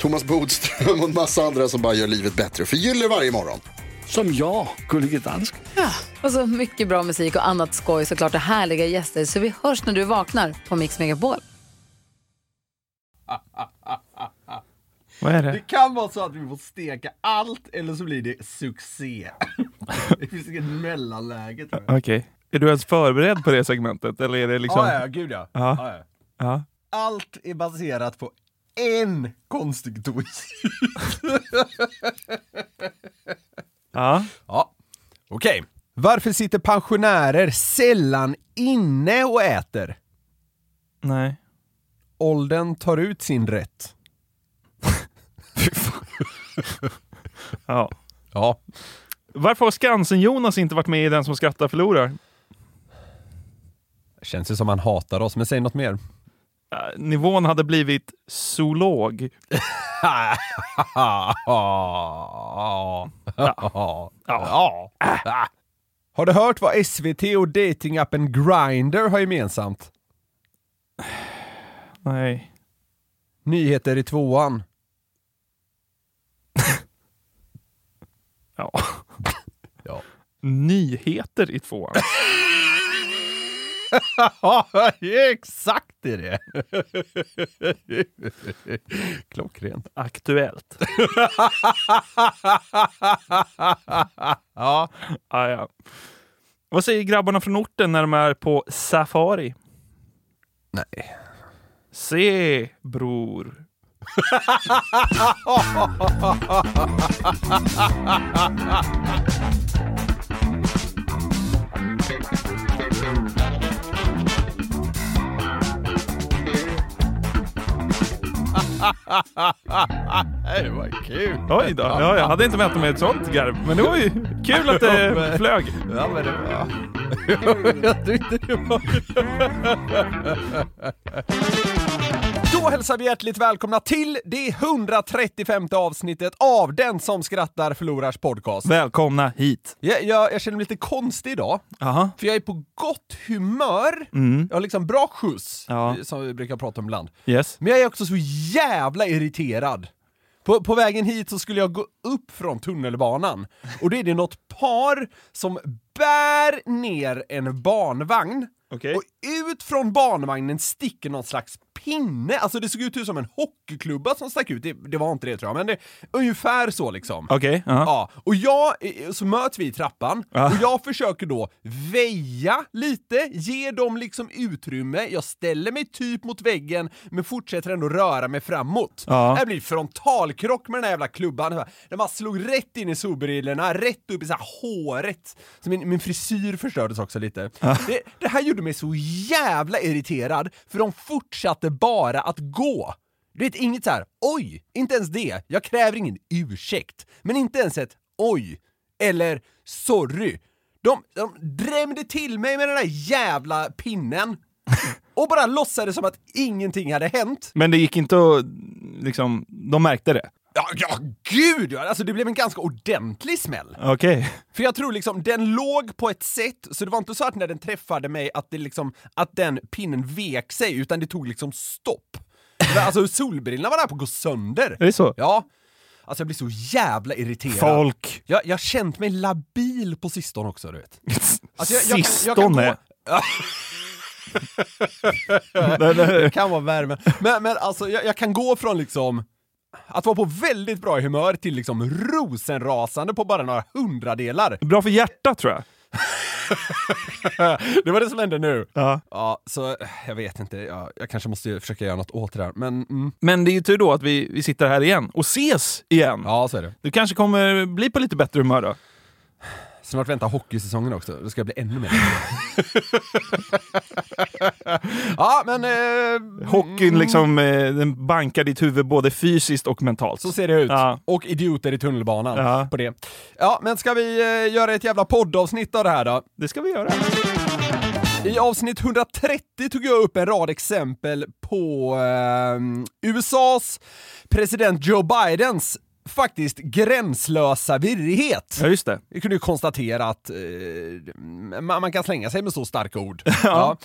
Thomas Bodström och en massa andra som bara gör livet bättre för gillar varje morgon. Som jag, Gullige Dansk. Och så mycket bra musik och annat skoj såklart och härliga gäster så vi hörs när du vaknar på Mix Megapol. Vad är det? Det kan vara så att vi får steka allt eller så blir det succé. det finns inget mellanläge tror jag. Okej. Är du ens förberedd på det segmentet? Eller är det liksom... Ja, ja, gud ja. Ja, ja. Ja. Allt är baserat på en konstig twist. Ja. ja. Okej. Varför sitter pensionärer sällan inne och äter? Nej. Åldern tar ut sin rätt. Ja. Ja. Varför har Skansen-Jonas inte varit med i Den som skrattar förlorar? Känns ju som han hatar oss, men säg något mer. Eh, Nivån hade blivit zoolog. Äh. Ah. Har du hört vad SVT och datingappen Grindr har gemensamt? Nej. Nyheter i tvåan. Ja. Ja. Nyheter i tvåan. Ja, exakt är det! Klockrent. Aktuellt. ja. Ah, ja. Vad säger grabbarna från orten när de är på safari? Nej. Se, bror. Det var kul. Oj då. Ja, jag hade inte väntat mig ett sånt garv. Men det var ju kul att det flög. Ja, men det var... Jag tyckte det var... Då hälsar vi hjärtligt välkomna till det 135 avsnittet av Den som skrattar förlorars podcast. Välkomna hit. Jag, jag, jag känner mig lite konstig idag, Aha. för jag är på gott humör. Jag har liksom bra skjuts, Mm. eh, Ja. som vi brukar prata om ibland. Yes. Men jag är också så jävla irriterad. På, på vägen hit så skulle jag gå upp från tunnelbanan och då är det något par som bär ner en barnvagn Okej. och ut från barnvagnen sticker någon slags pinne. Alltså det såg ut som en hockeyklubba som stack ut. Det, det var inte det tror jag, men det, ungefär så liksom. Okej. ja. Ja, och jag, eh, så möts vi i trappan och jag försöker då väja lite, ge dem liksom utrymme. Jag ställer mig typ mot väggen men fortsätter ändå röra mig framåt. Ja. Här blir det frontalkrock med den här jävla klubban. Den bara slog rätt in i solbrillorna, rätt upp i så här håret. Så min, min frisyr förstördes också lite. Det, det här gjorde mig så jävla irriterad för de fortsatte bara att gå. Du vet, inget så här oj, inte ens det. Jag kräver ingen ursäkt. Men inte ens ett oj, eller sorry. De, de drämde till mig med den där jävla pinnen och bara låtsades som att ingenting hade hänt. Men det gick inte att... Liksom, de märkte det. Ja, ja gud! ja. Alltså det blev en ganska ordentlig smäll. Okej. För jag tror liksom, den låg på ett sätt, så det var inte så att när den träffade mig att det liksom, att den pinnen vek sig, utan det tog liksom stopp. Men Alltså solbrillorna var där på att gå sönder. Är det så? Ja. Alltså jag blir så jävla irriterad. Folk. Jag, jag har känt mig labil på sistone också, du vet. Alltså jag, Sistone. Det kan vara värme. Men, men alltså, jag, jag kan gå från liksom Att vara på väldigt bra humör till liksom rosenrasande på bara några hundradelar. Bra för hjärtat tror jag. Det var det som hände nu. Ja. Ja, så eh, jag vet inte. Jag, jag kanske måste ju försöka göra något åt det där. Men mm. Men det är ju tur då att vi, vi sitter här igen och ses igen. ja, så är det. Du kanske kommer bli på lite bättre humör då. Snart väntar hockeysäsongen också. Då ska jag bli ännu mer. ja, men... Eh, Hockeyn liksom, eh, den bankar ditt huvud både fysiskt och mentalt. Så ser det ut. Ja. Och idioter i tunnelbanan Ja. på det. Ja, men ska vi eh, göra ett jävla poddavsnitt av det här då? Det ska vi göra. I avsnitt 130 tog jag upp en rad exempel på eh, USAs president Joe Bidens faktiskt gränslösa virrighet. Ja, just det. Vi kunde ju konstatera att eh, man, man kan slänga sig med så starka ord. ja.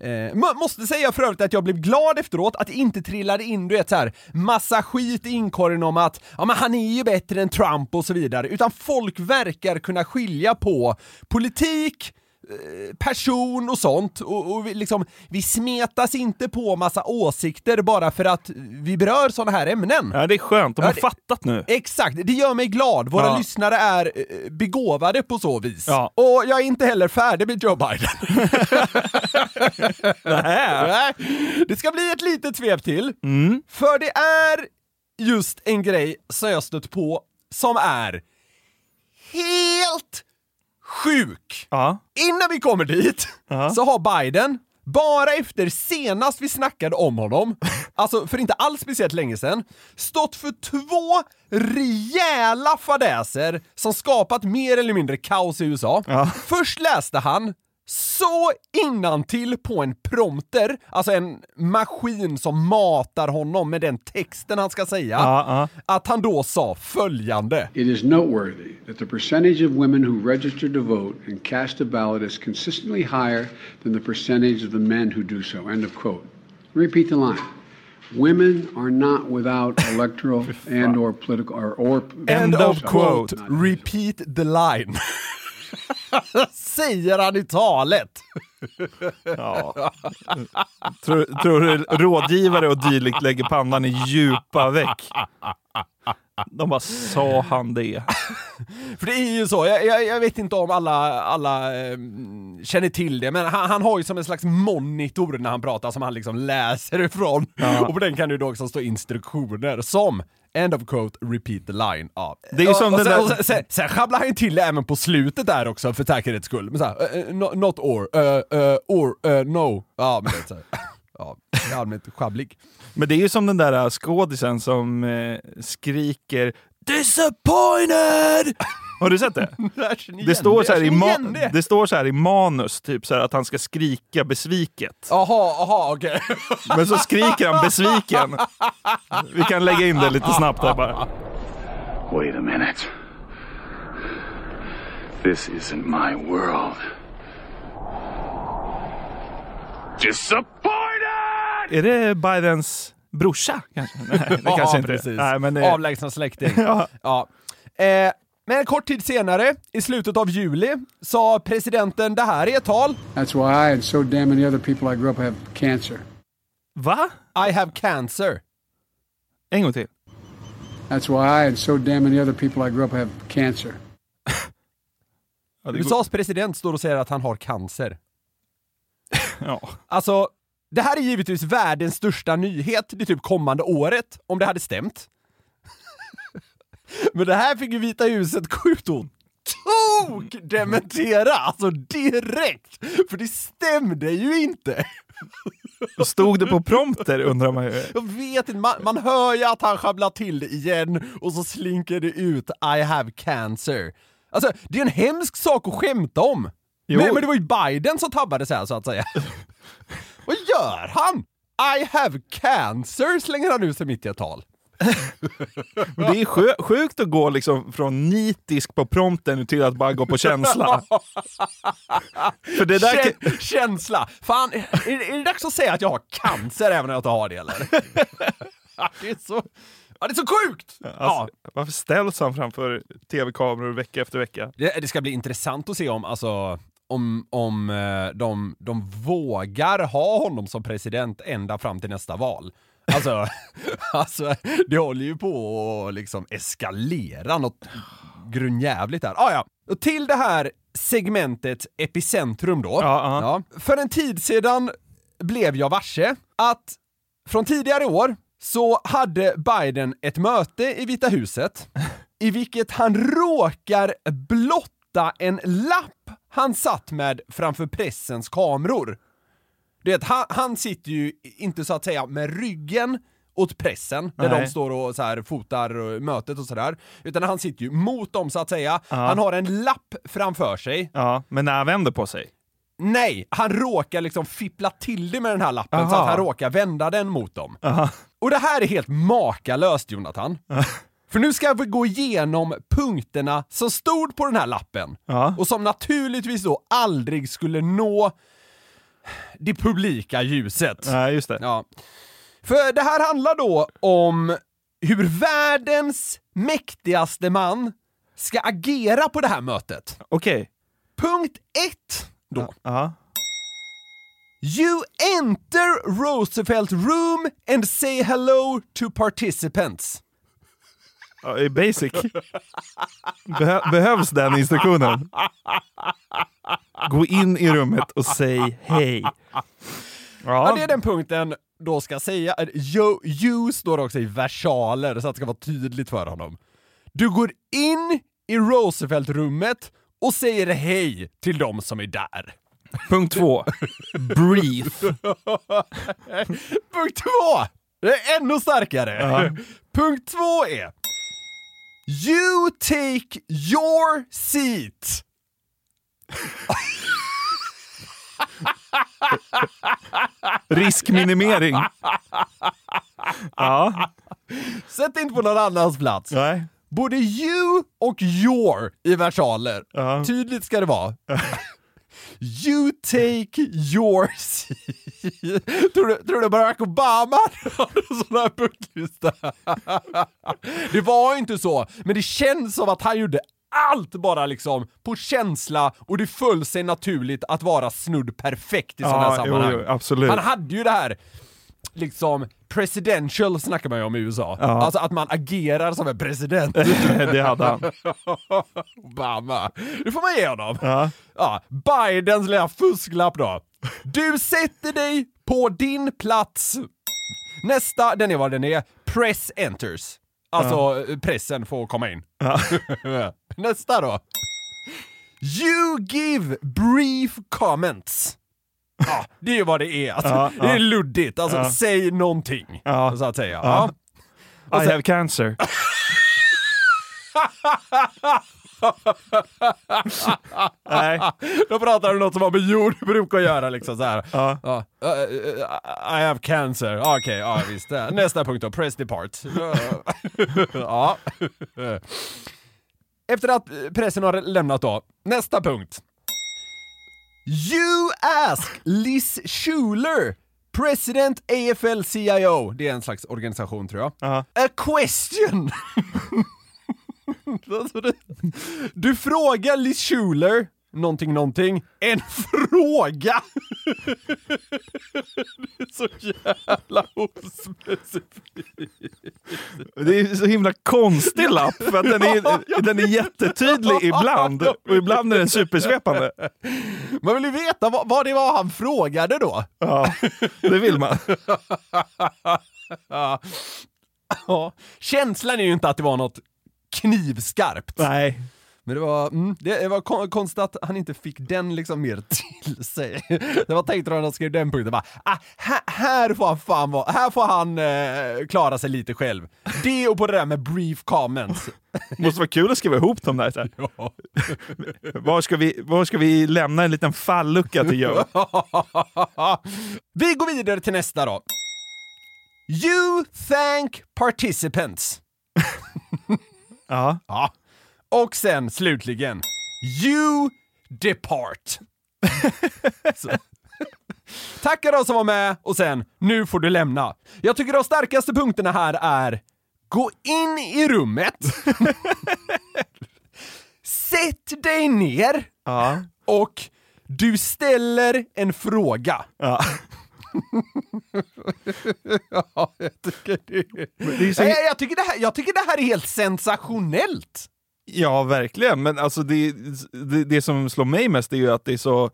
eh, må- måste säga för övrigt att jag blev glad efteråt att det inte trillade in du vet, så här, massa skit i inkorgen om att ja, men han är ju bättre än Trump och så vidare, utan folk verkar kunna skilja på politik, eh, person och sånt och, och vi, liksom, vi smetas inte på massa åsikter bara för att vi berör sådana här ämnen. Ja, det är skönt. De har Ja, det- fattat nu. Exakt, det gör mig glad. Våra Ja. lyssnare är eh, begåvade på så vis. Ja. Och jag är inte heller färdig med Joe Biden. Nähä. Mm. Nej. Det ska bli ett litet svep till. För det är just en grej som jag stött på som är helt sjuk. Ja. Innan vi kommer dit så har Biden, bara efter senast vi snackade om honom, alltså för inte alls speciellt länge sedan, stått för två rejäla fadäser som skapat mer eller mindre kaos i USA. Först läste han så innantill på en prompter, alltså en maskin som matar honom med den texten han ska säga, Ja, att han då sa följande. It is noteworthy that the percentage of women who register to vote and cast a ballot is consistently higher than the percentage of the men who do so. End of quote. Repeat the line. Women are not without electoral and or political or, or End of quote. Repeat the line. Säger han i talet. Tror, tror du rådgivare och dylikt lägger pannan i djupa veck? De bara, sa han det? För det är ju så, jag, jag, jag vet inte om alla, alla eh, känner till det, men han, han har ju som en slags monitor när han pratar som han liksom läser ifrån. Och på den kan det ju då också stå instruktioner som End of quote, repeat the line. Ja. Det är ju Och- som och den sen, där- och sen, sen, sen sjabblar han ju till det även på slutet där också för säkerhets skull. Men så här, eh, eh, no- not or, eh, eh, or, eh, no. Ja, men det är så här. Ja, jag är allmänt sjabblig. Men det är ju som den där äh, skådisen som eh, skriker “Disappointed!” Har du sett det? Jag känner igen Det står, så här jag i känner ma- igen det står så här i manus, typ så här att han ska skrika besviket. Jaha, jaha, okej. Men så skriker han besviken. Vi kan lägga in det lite snabbt här bara. Wait a minute. This isn't my world. Disappointed! Är det Bidens brorsa? Kanske? Nej, det kanske inte är. precis. Nej, men det, Avlägsna släkting. ja. Eh, men en kort tid senare, i slutet av juli, sa presidenten det här i ett tal. That's why I and so damn many other people I grew up have cancer. va? I have cancer. En gång till. That's why I and so damn many other people I grew up have cancer. Ja, det går, USAs president står och säger att han har cancer. ja. Alltså, det här är givetvis världens största nyhet det typ kommande året, om det hade stämt. Men det här fick ju Vita huset gå ut och tok-dementera, alltså direkt! För det stämde ju inte! Och Stod det på prompter undrar man ju. Jag vet inte, man, man hör ju att han sjabblar till det igen och så slinker det ut I have cancer. Alltså, det är en hemsk sak att skämta om. Jo. Men, men det var ju Biden som tabbade så här så att säga. Vad gör han? I have cancer slänger han ut sig mitt i ett tal. Men det är sjö- sjukt att gå liksom från nitisk på prompten till att bara gå på känsla. För det där Kä- känsla! Fan, är, är det dags att säga att jag har cancer även om jag inte har det eller? det, är så, ja, det är så sjukt! ja. alltså, Varför ställs han framför tv-kameror vecka efter vecka? Det, det ska bli intressant att se om, alltså, om, om eh, de, de vågar ha honom som president ända fram till nästa val. Alltså, alltså det håller ju på att liksom eskalera något grundjävligt här. Ah, ja. Och till det här segmentet Epicentrum då. Ja, Ja. För en tid sedan blev jag varse att från tidigare år så hade Biden ett möte i Vita huset i vilket han råkar blotta en lapp han satt med framför pressens kameror. Du vet, han, han sitter ju inte så att säga med ryggen åt pressen, där Nej. de står och så här fotar eh, mötet och sådär, utan han sitter ju mot dem så att säga. Han har en lapp framför sig Ja, men när han vänder på sig. Nej, han råkar liksom fippla till det med den här lappen så Aha. att han råkar vända den mot dem. Och det här är helt makalöst, Jonathan. För nu ska vi gå igenom punkterna som stod på den här lappen Ja. och som naturligtvis då aldrig skulle nå det publika ljuset. Nej, just det. Ja. För det här handlar då om hur världens mäktigaste man ska agera på det här mötet. Okej. Punkt ett då. Ja. You enter Roosevelt room and say hello to participants. Ja, i Basic. Behö- behövs den instruktionen? Gå in i rummet och säg hej. Ja, det är den punkten då ska säga. You, you står också i versaler så att det ska vara tydligt för honom. Du går in i Roosevelt-rummet och säger hej till de som är där. Punkt två. Brief. Punkt två! Det är ännu starkare. Punkt två är You take your seat. Riskminimering. Ja, Sätt inte på någon annans plats. nej. Både you och your i versaler. Ja. Tydligt ska det vara. You take your seat. Tror du, tror du Barack Obama hade en sån här punktlista? Det var inte så, men det känns som att han gjorde allt bara liksom på känsla och det föll sig naturligt att vara snudd perfekt i sådana här Ja, jo, sammanhang. jo, absolut. Han hade ju det här liksom presidential snackar man ju om i USA. Alltså att man agerar som en president. Det hade han. Obama. Det får man ge honom. Ja. Bidens lilla fusklapp då. Du sätter dig på din plats. Nästa, den är vad den är. Press enters. Alltså pressen får komma in. Nästa då. You give brief comments. Ja, det är ju vad det är. Alltså, det är luddigt. Alltså, säg någonting. Så att säga. Ja. I have cancer. Nej, Då pratar du något som har med jord brukar göra liksom så här. Ja. Eh, eh, I have cancer. Ah, Okej, ja visst. Eh, Nästa punkt då, press depart. ja. Efter att eh, pressen har lämnat då, nästa punkt. You ask Liz Schuler, president AFL-CIO, det är en slags organisation tror jag, a question. Alltså det, du frågar Liz Schuler någonting, någonting, en fråga! det är så jävla ospecifikt. det är så himla konstig lapp för att den är, den är jättetydlig ibland och ibland är den supersvepande. Man vill ju veta vad, vad det var han frågade då. Ja, det vill man. Ja. Känslan är ju inte att det var något knivskarpt. Nej. Men det var, mm, det var kon- konstigt att han inte fick den liksom mer till sig. Det var tänkt när han skrev den punkten bara, ah, här, här får han fan vara, här får han eh, klara sig lite själv. Det och på det där med brief comments. Måste vara kul att skriva ihop dem där. Så här. Var, ska vi, var ska vi lämna en liten fallucka till Joe? Vi går vidare till nästa då. You thank participants. Ja. Ja. Och sen slutligen, you depart. Så. Tacka de som var med och sen, nu får du lämna. Jag tycker de starkaste punkterna här är, gå in i rummet, sätt dig ner Ja. och du ställer en fråga. Ja. ja, jag tycker det. det är ju så- Nej, jag, jag, tycker det här, jag tycker det här är helt sensationellt. Ja, verkligen. Men alltså det, det, det som slår mig mest är ju att det är så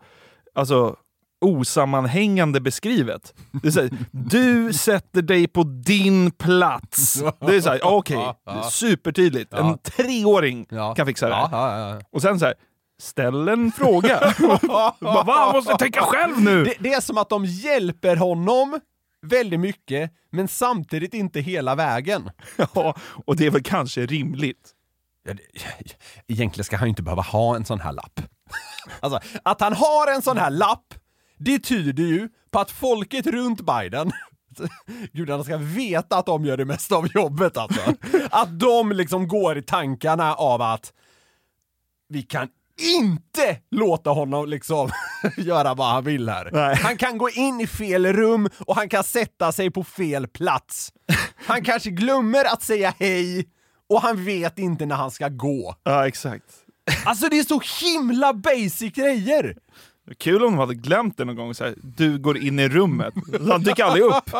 alltså, osammanhängande beskrivet. Det är så här, du sätter dig på din plats. Det är så här, okej, supertydligt. En treåring kan fixa det Ja, här. ja, ja. Och sen så här, ställ en fråga. Bara, Va, jag måste tänka själv nu! Det, det är som att de hjälper honom väldigt mycket, men samtidigt inte hela vägen. Ja, och det är väl kanske rimligt. Ja, det, egentligen ska han ju inte behöva ha en sån här lapp. Alltså, att han har en sån här lapp, det tyder ju på att folket runt Biden Gudarna ska veta att de gör det mesta av jobbet alltså. Att de liksom går i tankarna av att vi kan inte låta honom liksom göra vad han vill här. Nej. Han kan gå in i fel rum och han kan sätta sig på fel plats. Han kanske glömmer att säga hej och han vet inte när han ska gå. Ja, exakt. Alltså det är så himla basic grejer! Kul om de hade glömt det någon gång. Så här, du går in i rummet. Så han dyker aldrig upp.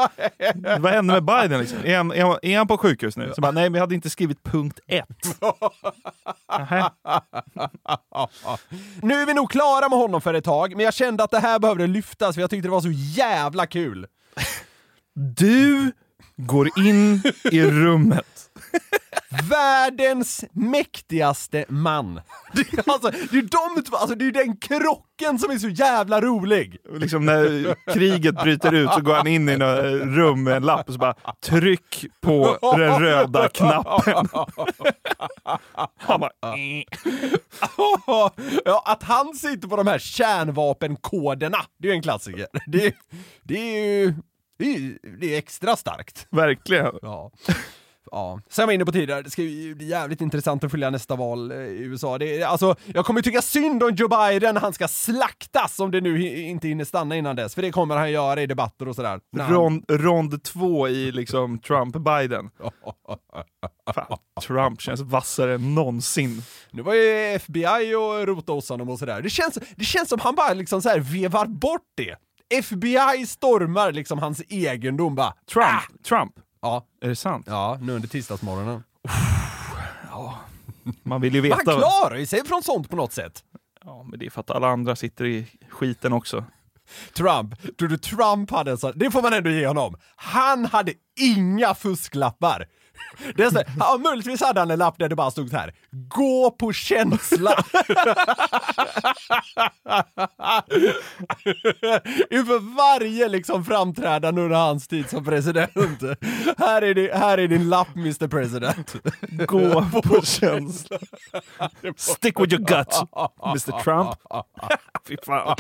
Vad hände med Biden? Liksom? Är, han, är, han, är han på sjukhus nu? Så bara, nej, vi hade inte skrivit punkt ett. Nähä. Nu är vi nog klara med honom för ett tag, men jag kände att det här behövde lyftas för jag tyckte det var så jävla kul. Du går in i rummet. Världens mäktigaste man. Det är, alltså, det är de två, alltså det är den krocken som är så jävla rolig. Liksom när kriget bryter ut så går han in i något eh, rum med en lapp och så bara tryck på den röda knappen. Han bara, "Eh." ja, att han sitter på de här kärnvapenkoderna, det är ju en klassiker. Det, är- det är ju... Det är, ju- det är extra starkt. verkligen. Ja. Ja. Sen var jag inne på tidigare, det ska ju bli jävligt intressant att följa nästa val eh, i USA. Det, är- alltså, jag kommer ju tycka synd om Joe Biden, han ska slaktas om det nu hi- inte hinner stanna innan dess, för det kommer han göra i debatter och sådär. När han- Rond, rond två i liksom Trump-Biden. Fan, Trump känns vassare än någonsin. Nu var ju FBI och rota hos honom och sådär. Det känns, det känns som han bara liksom så här vevar bort det. FBI stormar liksom hans egendom bara. Trump, Trump. Ja, Är det sant? ja, nu under tisdagsmorgonen. Man vill ju Men veta. han klarar ju sig från sånt på något sätt. Ja, men det är för att alla andra sitter i skiten också. Trump, tror du Trump hade en sån, det får man ändå ge honom. Han hade inga fusklappar. Det är så, ja, möjligtvis hade han en lapp där det bara stod så här, gå på känsla. Inför varje liksom framträdande under hans tid som president. Här är, din, här är din lapp Mr President. Gå på känsla. Stick with your gut, Mr Trump. Fy fan.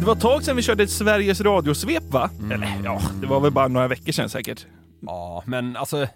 Det var ett tag sedan vi körde ett Sveriges radiosvep va? Eller ja, det var väl bara några veckor sedan säkert. Ja, men alltså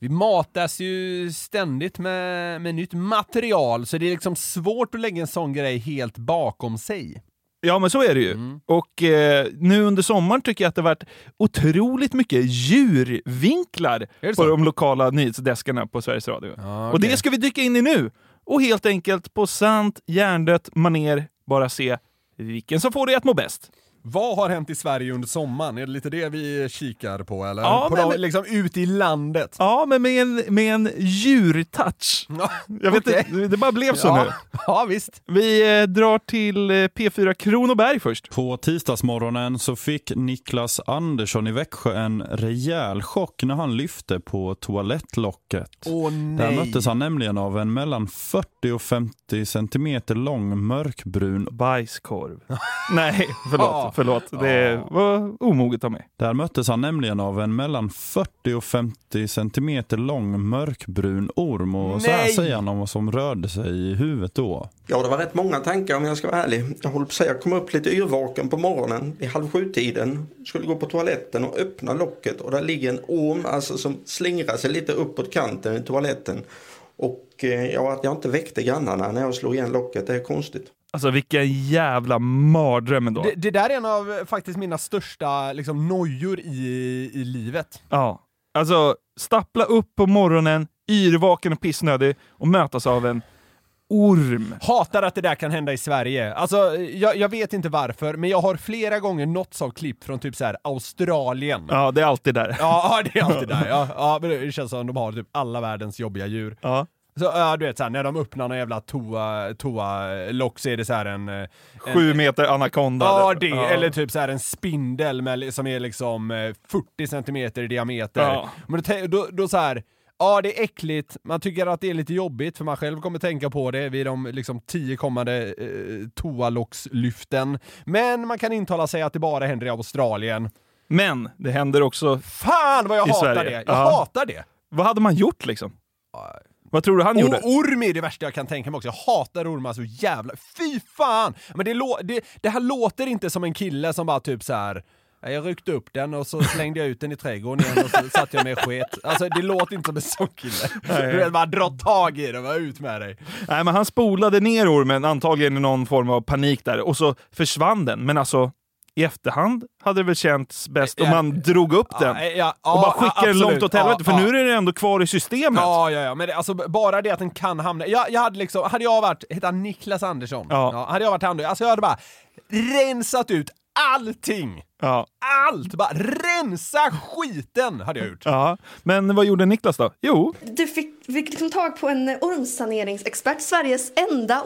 vi matas ju ständigt med, med nytt material så det är liksom svårt att lägga en sån grej helt bakom sig. Ja, men så är det ju. Och eh, nu under sommaren tycker jag att det varit otroligt mycket djurvinklar det på så? de lokala nyhetsdeskarna på Sveriges Radio. Ja, Och okej. det ska vi dyka in i nu. Och helt enkelt på sant hjärndött maner bara se vilken som får dig att må bäst. Vad har hänt i Sverige under sommaren? Är det lite det vi kikar på eller? Ja, på men- de, liksom ut i landet? Ja, men med en, med en djurtouch. Jag vet Okej. inte, det bara blev så ja. nu. Ja, visst. Vi eh, drar till eh, P4 Kronoberg först. På tisdagsmorgonen så fick Niklas Andersson i Växjö en rejäl chock när han lyfte på toalettlocket. Åh Där nej. möttes han nämligen av en mellan 40 och 50 centimeter lång mörkbrun. Bajskorv. Nej, förlåt. förlåt. Det var omoget av mig. Där möttes han nämligen av en mellan 40 och 50 centimeter lång mörkbrun orm och så här Nej! säger han om vad som rörde sig i huvudet då. Ja, det var rätt många tankar om jag ska vara ärlig. Jag höll på att säga, jag kom upp lite yrvaken på morgonen vid halv sju-tiden. Skulle gå på toaletten och öppna locket och där ligger en orm alltså, som slingrar sig lite uppåt kanten i toaletten. Och eh, ja, att jag inte väckte grannarna när jag slog igen locket, det är konstigt. Alltså vilken jävla mardröm ändå. Det, det där är en av eh, faktiskt mina största liksom, nojor i, i livet. Ja. Alltså, stappla upp på morgonen, yrvaken och pissnödig och mötas av en orm. Hatar att det där kan hända i Sverige. Alltså, jag, jag vet inte varför, men jag har flera gånger nåtts av klipp från typ så här Australien. Ja, det är alltid där. Ja, ja, det är alltid där. Ja, ja, men det känns som de har typ alla världens jobbiga djur. Ja. Så, ja, du vet såhär, när de öppnar någon jävla toa, toa lock så är det såhär en... en Sju meter anakonda. Ja, det. Eller typ så här en spindel med, som är liksom eh, 40 centimeter i diameter. Ja. Men då, tän- då, då så här, ja det är äckligt, man tycker att det är lite jobbigt för man själv kommer tänka på det vid de liksom, tio kommande eh, toalockslyften. Men man kan intala sig att det bara händer i Australien. Men det händer också Fan vad jag i hatar Sverige. det! Jag Ja. hatar det! Vad hade man gjort liksom? Vad tror du han gjorde? Och orm är det värsta jag kan tänka mig också. Jag hatar ormar så jävla... Fy fan! Men det, lå- det, det här låter inte som en kille som bara typ så här. "Ja, Jag ryckte upp den och så slängde jag ut den i trädgården igen och så satte jag mig i sket. Alltså det låter inte som en sån kille. Nej. Du vet, bara dra tag i den, bara ut med dig. Nej, men han spolade ner ormen, antagligen i någon form av panik där, och så försvann den. Men alltså, i efterhand hade det väl känts bäst om Ja. man drog upp den Ja, ja, och ja, bara skickade den absolut. långt åt helvete, Ja, för ja. nu är den ändå kvar i systemet. Ja, ja, ja, men det, alltså bara det att den kan hamna... Jag, jag hade liksom, hade jag varit, hette han Niklas Andersson? Ja. hade jag varit han då, alltså jag hade bara rensat ut allting! Ja. Allt! Bara rensa skiten hade jag gjort. Ja. Men vad gjorde Niklas då? Jo, Du fick, fick liksom tag på en ormsaneringsexpert, Sveriges enda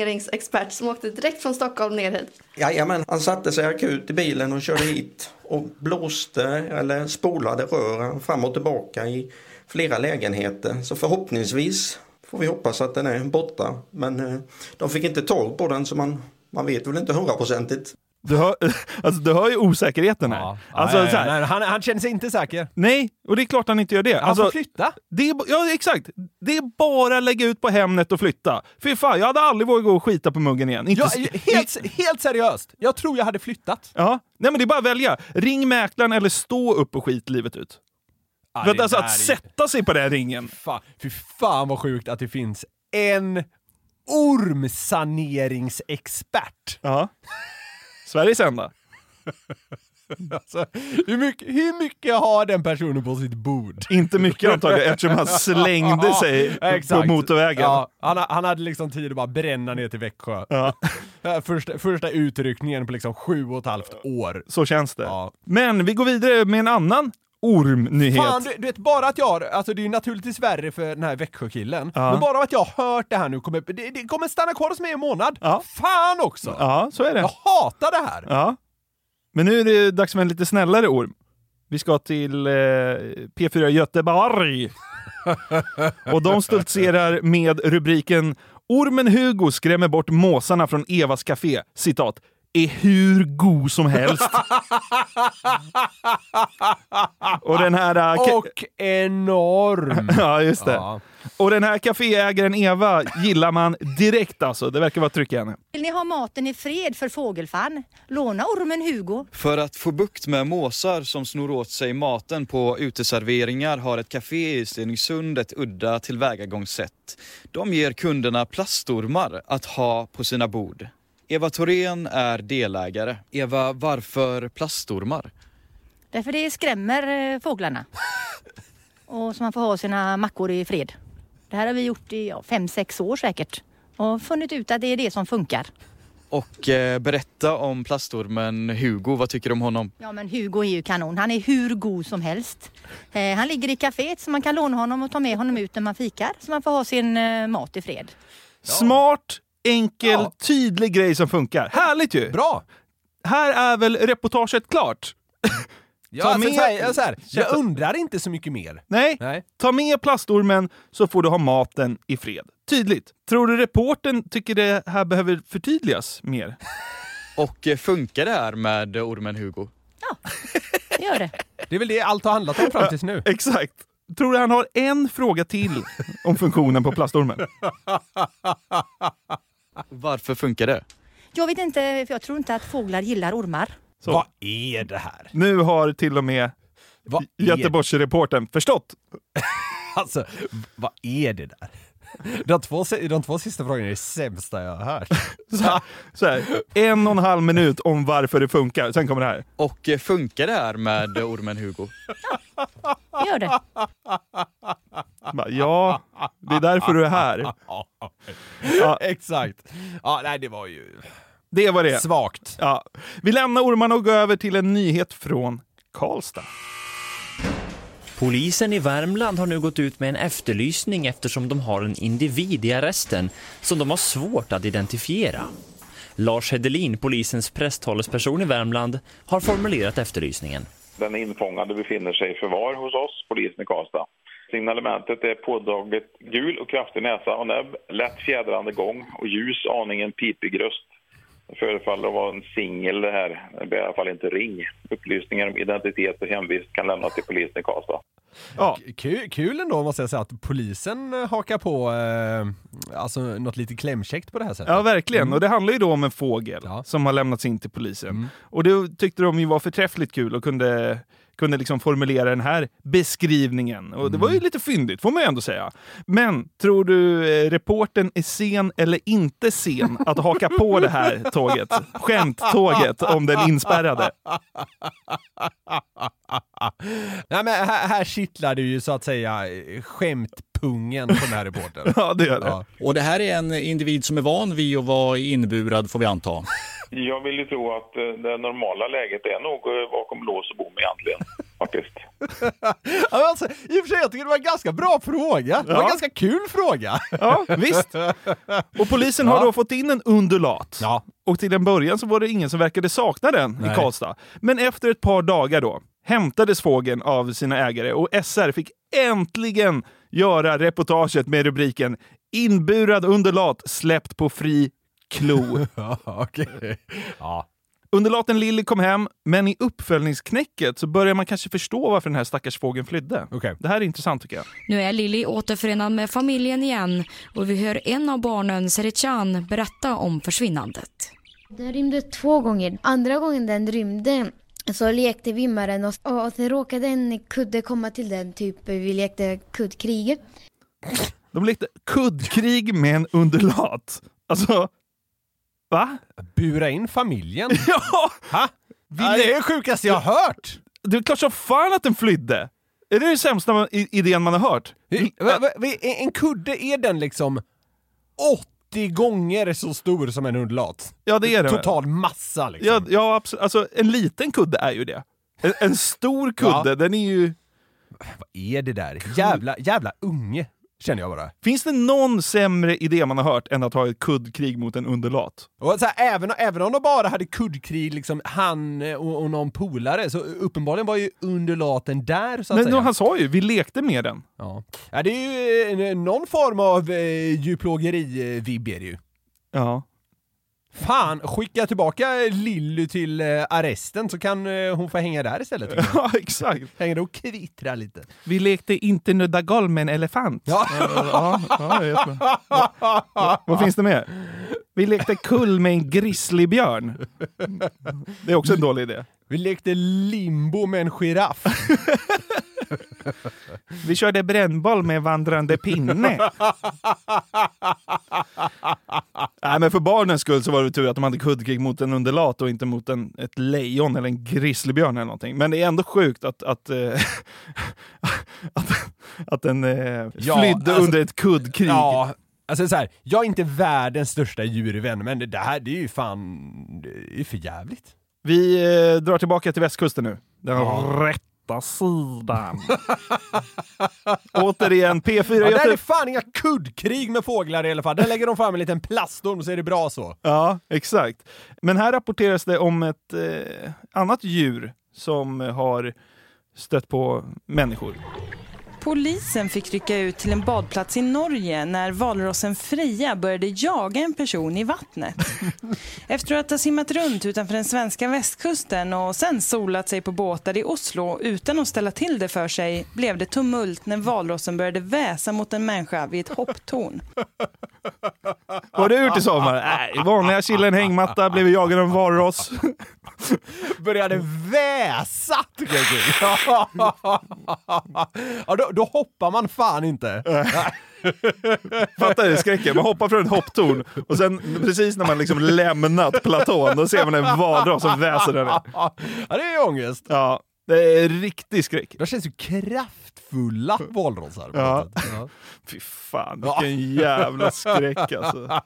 ormsaneringsexpert som åkte direkt från Stockholm ner hit. Jajamän, han satte sig akut i bilen och körde hit och blåste eller spolade rören fram och tillbaka i flera lägenheter. Så förhoppningsvis får vi hoppas att den är borta. Men eh, de fick inte tag på den så man, man vet väl inte hundraprocentigt. du hör, alltså, du hör ju osäkerheten här. Alltså, Nej, så här nej, han, han känner sig inte säker. Nej, och det är klart han inte gör det. Alltså, Han får flytta. Det är, b- ja, exakt. Det är bara att lägga ut på Hemnet och flytta. Fy fan, jag hade aldrig vågat gå och skita på muggen igen. Inte, Jag, s- helt, helt seriöst, jag tror jag hade flyttat. Ja, nej men det är bara att välja. Ring mäklaren eller stå upp och skit livet ut. Ja, För att, det alltså där att är- sätta sig på den ringen. Fan, fy fan vad sjukt att det finns en ormsaneringsexpert. Ja. Sveriges enda. Alltså, hur, mycket, hur mycket har den personen på sitt bord? Inte mycket antagligen eftersom han slängde sig Ja, på exakt. motorvägen. Ja, han, ha- han hade liksom tid att bara bränna ner till Växjö. Ja. Ja, Första, första utryckningen på liksom sju och ett halvt år. Så känns det. Men vi går vidare med en annan ormnyhet. Fan, du, du vet bara att jag har, alltså det är ju naturligtvis värre för den här Växjökillen, Ja. men bara att jag har hört det här nu kommer, det, det kommer stanna kvar hos mig i en månad. Fan också! Ja, så är det. Jag hatar det här! Ja. Men nu är det dags för en lite snällare orm. Vi ska till eh, P4 Göteborg. Och de stoltserar med rubriken “Ormen Hugo skrämmer bort måsarna från Evas café”. Citat. “Är hur god som helst”. Och den här... eh, ka- Och enorm! ja, just det. Ja. Och den här kaféägaren Eva gillar man direkt alltså. Det verkar vara tryck i henne. Vill ni ha maten i fred för fågelfan? Låna ormen Hugo. För att få bukt med måsar som snor åt sig maten på uteserveringar har ett café i Stenungsund ett udda tillvägagångssätt. De ger kunderna plastormar att ha på sina bord. Eva Thorén är delägare. Eva, varför plastormar? Därför det skrämmer eh, fåglarna. Och så man får ha sina mackor i fred. Det här har vi gjort i ja, fem, sex år säkert. Och funnit ut att det är det som funkar. Och eh, berätta om plastormen Hugo. Vad tycker du om honom? Ja men Hugo är ju kanon. Han är hur god som helst. Eh, han ligger i kaféet så man kan låna honom och ta med honom ut när man fikar. Så man får ha sin eh, mat i fred. Smart, enkel, tydlig grej som funkar. Härligt ju! Bra! Här är väl reportaget klart? Ja, Ta alltså, med- så här, jag- så här, jag Käften. undrar inte så mycket mer. Nej. ta med plastormen så får du ha maten i fred. Tydligt. Tror du reporten tycker det här behöver förtydligas mer? Och eh, funkar det här med eh, ormen Hugo? Det gör det. Det är väl det allt har handlat om fram tills nu. Exakt. Tror du han har en fråga till om funktionen på plastormen? Varför funkar det? Jag vet inte, för jag tror inte att fåglar gillar ormar. Vad är det här? Nu har till och med är- Göteborgsreportern förstått. Alltså, vad är det där? De två, si- de två sista frågorna är det sämsta jag har hört. Så här, så här, en och en halv minut om varför det funkar. Sen kommer det här. Och eh, funkar det här med eh, ormen Hugo? det gör det. Bara, Ja, det är därför du är här. Exakt. Ja, nej, det var ju... Det var det. Svagt. Ja. Vi lämnar ormarna och går över till en nyhet från Karlstad. Polisen i Värmland har nu gått ut med en efterlysning eftersom de har en individ i arresten som de har svårt att identifiera. Lars Hedelin, polisens presstalesperson i Värmland, har formulerat efterlysningen. Den infångade befinner sig i förvar hos oss, polisen i Karlstad. Signalementet är påtagligt gul och kraftig näsa och näbb, lätt fjädrande gång och ljus, aningen pipig röst. Det förefaller att vara en singel det här, det blir i alla fall inte ring. Upplysningar om identitet och hemvist kan lämnas till polisen i Karlstad. Ja. Kul, kul ändå måste jag säga att polisen eh, hakar på eh, alltså, något lite klämkäckt på det här sättet. Ja, verkligen. Mm. Och det handlar ju då om en fågel som har lämnats in till polisen. Och det tyckte de ju var förträffligt kul och kunde, kunde liksom formulera den här beskrivningen. Och det var Mm. ju lite fyndigt, får man ju ändå säga. Men tror du eh, reporten är sen eller inte sen att haka på det här tåget? Skämttåget om den inspärrade. Ah, Nej, men här, här kittlar det ju så att säga eh, skämtpungen på den här reportern. ja, det gör det. Och det här är en individ som är van vid att vara inburad får vi anta. Jag vill ju tro att eh, det normala läget är nog eh, bakom lås och bom egentligen, faktiskt. Ja, alltså, I och för sig, jag tycker det var en ganska bra fråga. Det var en Ja. ganska kul fråga. Ja, visst. Och polisen har Ja. då fått in en undulat. Och till en början så var det ingen som verkade sakna den i Nej. Karlstad. Men efter ett par dagar då hämtades fågeln av sina ägare och SR fick äntligen göra reportaget med rubriken “Inburad undulat släppt på fri klo”. Undulaten Lilly kom hem, men i uppföljningsknäcket så börjar man kanske förstå varför den här stackars fågeln flydde. Det här är intressant tycker jag. Nu är Lilly återförenad med familjen igen och vi hör en av barnen, Serichan, berätta om försvinnandet. Den rymde två gånger. Andra gången den rymde så lekte vi med den och, och sen råkade en kudde komma till den, typ vi lekte kuddkrig. De lekte kuddkrig med en undulat. Alltså, va? Bura in familjen? ja! Ha? Det är det sjukaste jag har hört! Det är klart som fan att den flydde! Är det den sämsta man- i- idén man har hört? Va- va- va- En kudde, är den liksom 80 gånger så stor som en undulat? Ja, det är den. Total massa liksom. Ja, ja absolut. Alltså, en liten kudde är ju det. En, en stor kudde, Ja. den är ju... Vad är det där? Jävla, jävla unge, känner jag bara. Finns det någon sämre idé man har hört än att ha ett kuddkrig mot en undulat? Och så här, även, även om de bara hade kuddkrig, liksom, han och, och någon polare, så uppenbarligen var ju undulaten där så att Men säga. han sa ju, vi lekte med den. Ja. Ja, det är ju eh, någon form av eh, djurplågeri-vibb är det ju. Ja. Fan, skicka tillbaka Lilly till eh, arresten så kan eh, hon få hänga där istället. tycker jag. Ja, exakt. Hänger och kvittrar lite. Vi lekte inte nudda golv med en elefant. Ja. Ja, ja, jättebra. Vad- Vad finns det mer? Vi lekte kull med en grizzlybjörn. Det är också en dålig idé. Vi lekte limbo med en giraff. Vi körde brännboll med vandrande pinne. Nej, men för barnens skull så var det tur att de hade kuddkrig mot en undulat och inte mot en, ett lejon eller en grizzlybjörn eller någonting. Men det är ändå sjukt att, att, eh, att, att den eh, Ja, flydde alltså- under ett kuddkrig. Ja, alltså så här, jag är inte världens största djurvän, men det här det är ju fan, det är ju för jävligt. Vi eh, drar tillbaka till västkusten nu. Den Ja. rätta sidan. Återigen, P4 Ja, där Göte- är fan inga kuddkrig med fåglar i alla fall. Där lägger de fram en liten plastorm så är det bra så. Ja, exakt. Men här rapporteras det om ett eh, annat djur som har stött på människor. Polisen fick rycka ut till en badplats i Norge när valrossen Freja började jaga en person i vattnet. Efter att ha simmat runt utanför den svenska västkusten och sen solat sig på båtar i Oslo utan att ställa till det för sig blev det tumult när valrossen började väsa mot en människa vid ett hopptorn. Var du ute i sommar? Nej, vanliga chilla en hängmatta, blev jagad av en valross. Började väsa! tycker jag är kul. ja, då, då hoppar man fan inte. Fattar du skräcken? Man hoppar från ett hopptorn och sen precis när man liksom lämnat platån, då ser man en valross som väser där. Ja, det är ju ångest. Ja. Det är riktig skräck. Det känns ju kraftfulla valrossar. Ja. Fy fan, vilken jävla skräck alltså.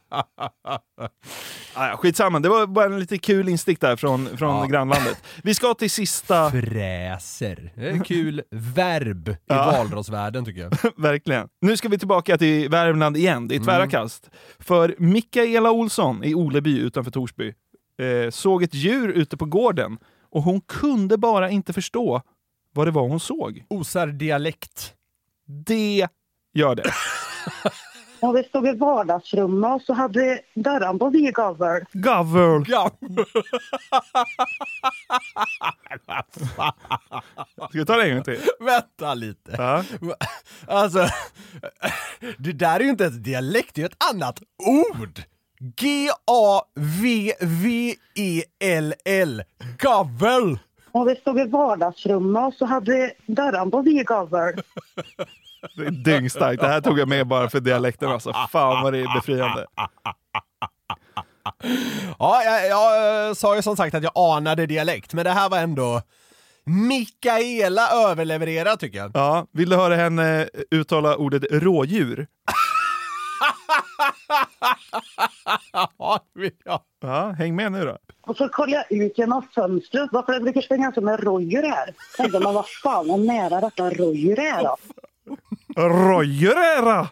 Ah, ja, skitsamma, det var bara en lite kul instick där från, från grannlandet. Vi ska till sista... Fräser. Det är ett kul verb i Ja. valrossvärlden tycker jag. Verkligen. Nu ska vi tillbaka till Värmland igen. Det är tvära Mm. kast. För Mikaela Olsson i Oleby utanför Torsby eh, såg ett djur ute på gården och hon kunde bara inte förstå vad det var hon såg. Osar dialekt. Det gör det. Ja, vi stod i vardagsrummet och så hade dörren på vid gavel. Gavel! Ska vi ta det en gång till? Vänta lite. Alltså, det där är ju inte ett dialekt, det är ett annat ord! G-A-V-V-E-L-L. E Gavel! Och vi stod i vardagsrummet och så hade dörren på vid gavel. Det är dyngstarkt. Det här tog jag med bara för dialekten alltså. Fan vad det är befriande. Ja, jag, jag eh, sa ju som sagt att jag anade dialekt, men det här var ändå Mikaela överlevererar tycker jag. Ja, vill du höra henne eh, uttala ordet rådjur? ja, det vill jag. Ja, häng med nu då. Och så kollade jag ut genom fönstret varför det brukar springa som en rojor här. Tänkte man vad fan vad nära detta rojor är då. Rojurera!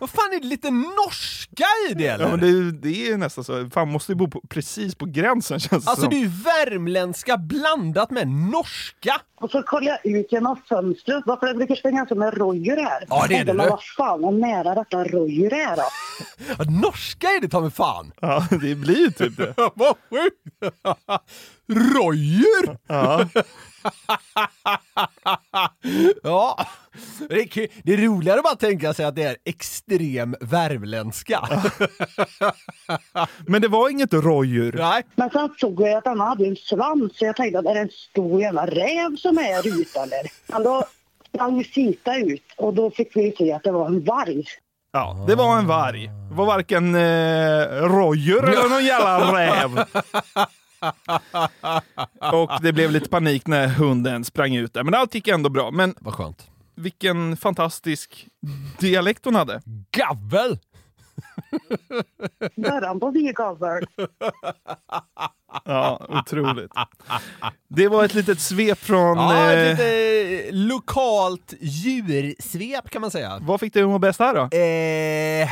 Vad fan är det lite norska i det eller? Ja, men det, det är nästan så. Fan, måste ju bo på, precis på gränsen känns det Alltså som. det är ju värmländska blandat med norska! Och så kollade jag ut genom fönstret varför det brukar springa som en rojor här. Ja, det är Tänkte det, man du. vad fan vad nära detta rojor är då. Ja, norska är det ta mig fan! Ja, det blir ju typ det. Vad sjukt! Rojer! Ja. ja. Det, är kul. det är roligare att bara tänka sig att det är extrem värmländska. Men det var inget rådjur. Nej. Men sen såg jag att han hade en svans så jag tänkte att är det en stor jävla räv som är här ute eller? Men då sprang ju Sita ut och då fick vi se att det var en varg. Ja, det var en varg. Det var varken eh, rådjur eller någon jävla räv. Och det blev lite panik när hunden sprang ut där. Men allt gick ändå bra. Men Vad skönt. Vilken fantastisk dialekt hon hade. Gavel! Dörren på vid gavel. Ja, otroligt. Det var ett litet svep från... Ja, eh, ett lite lokalt djursvep kan man säga. Vad fick du må bäst här då? Eh,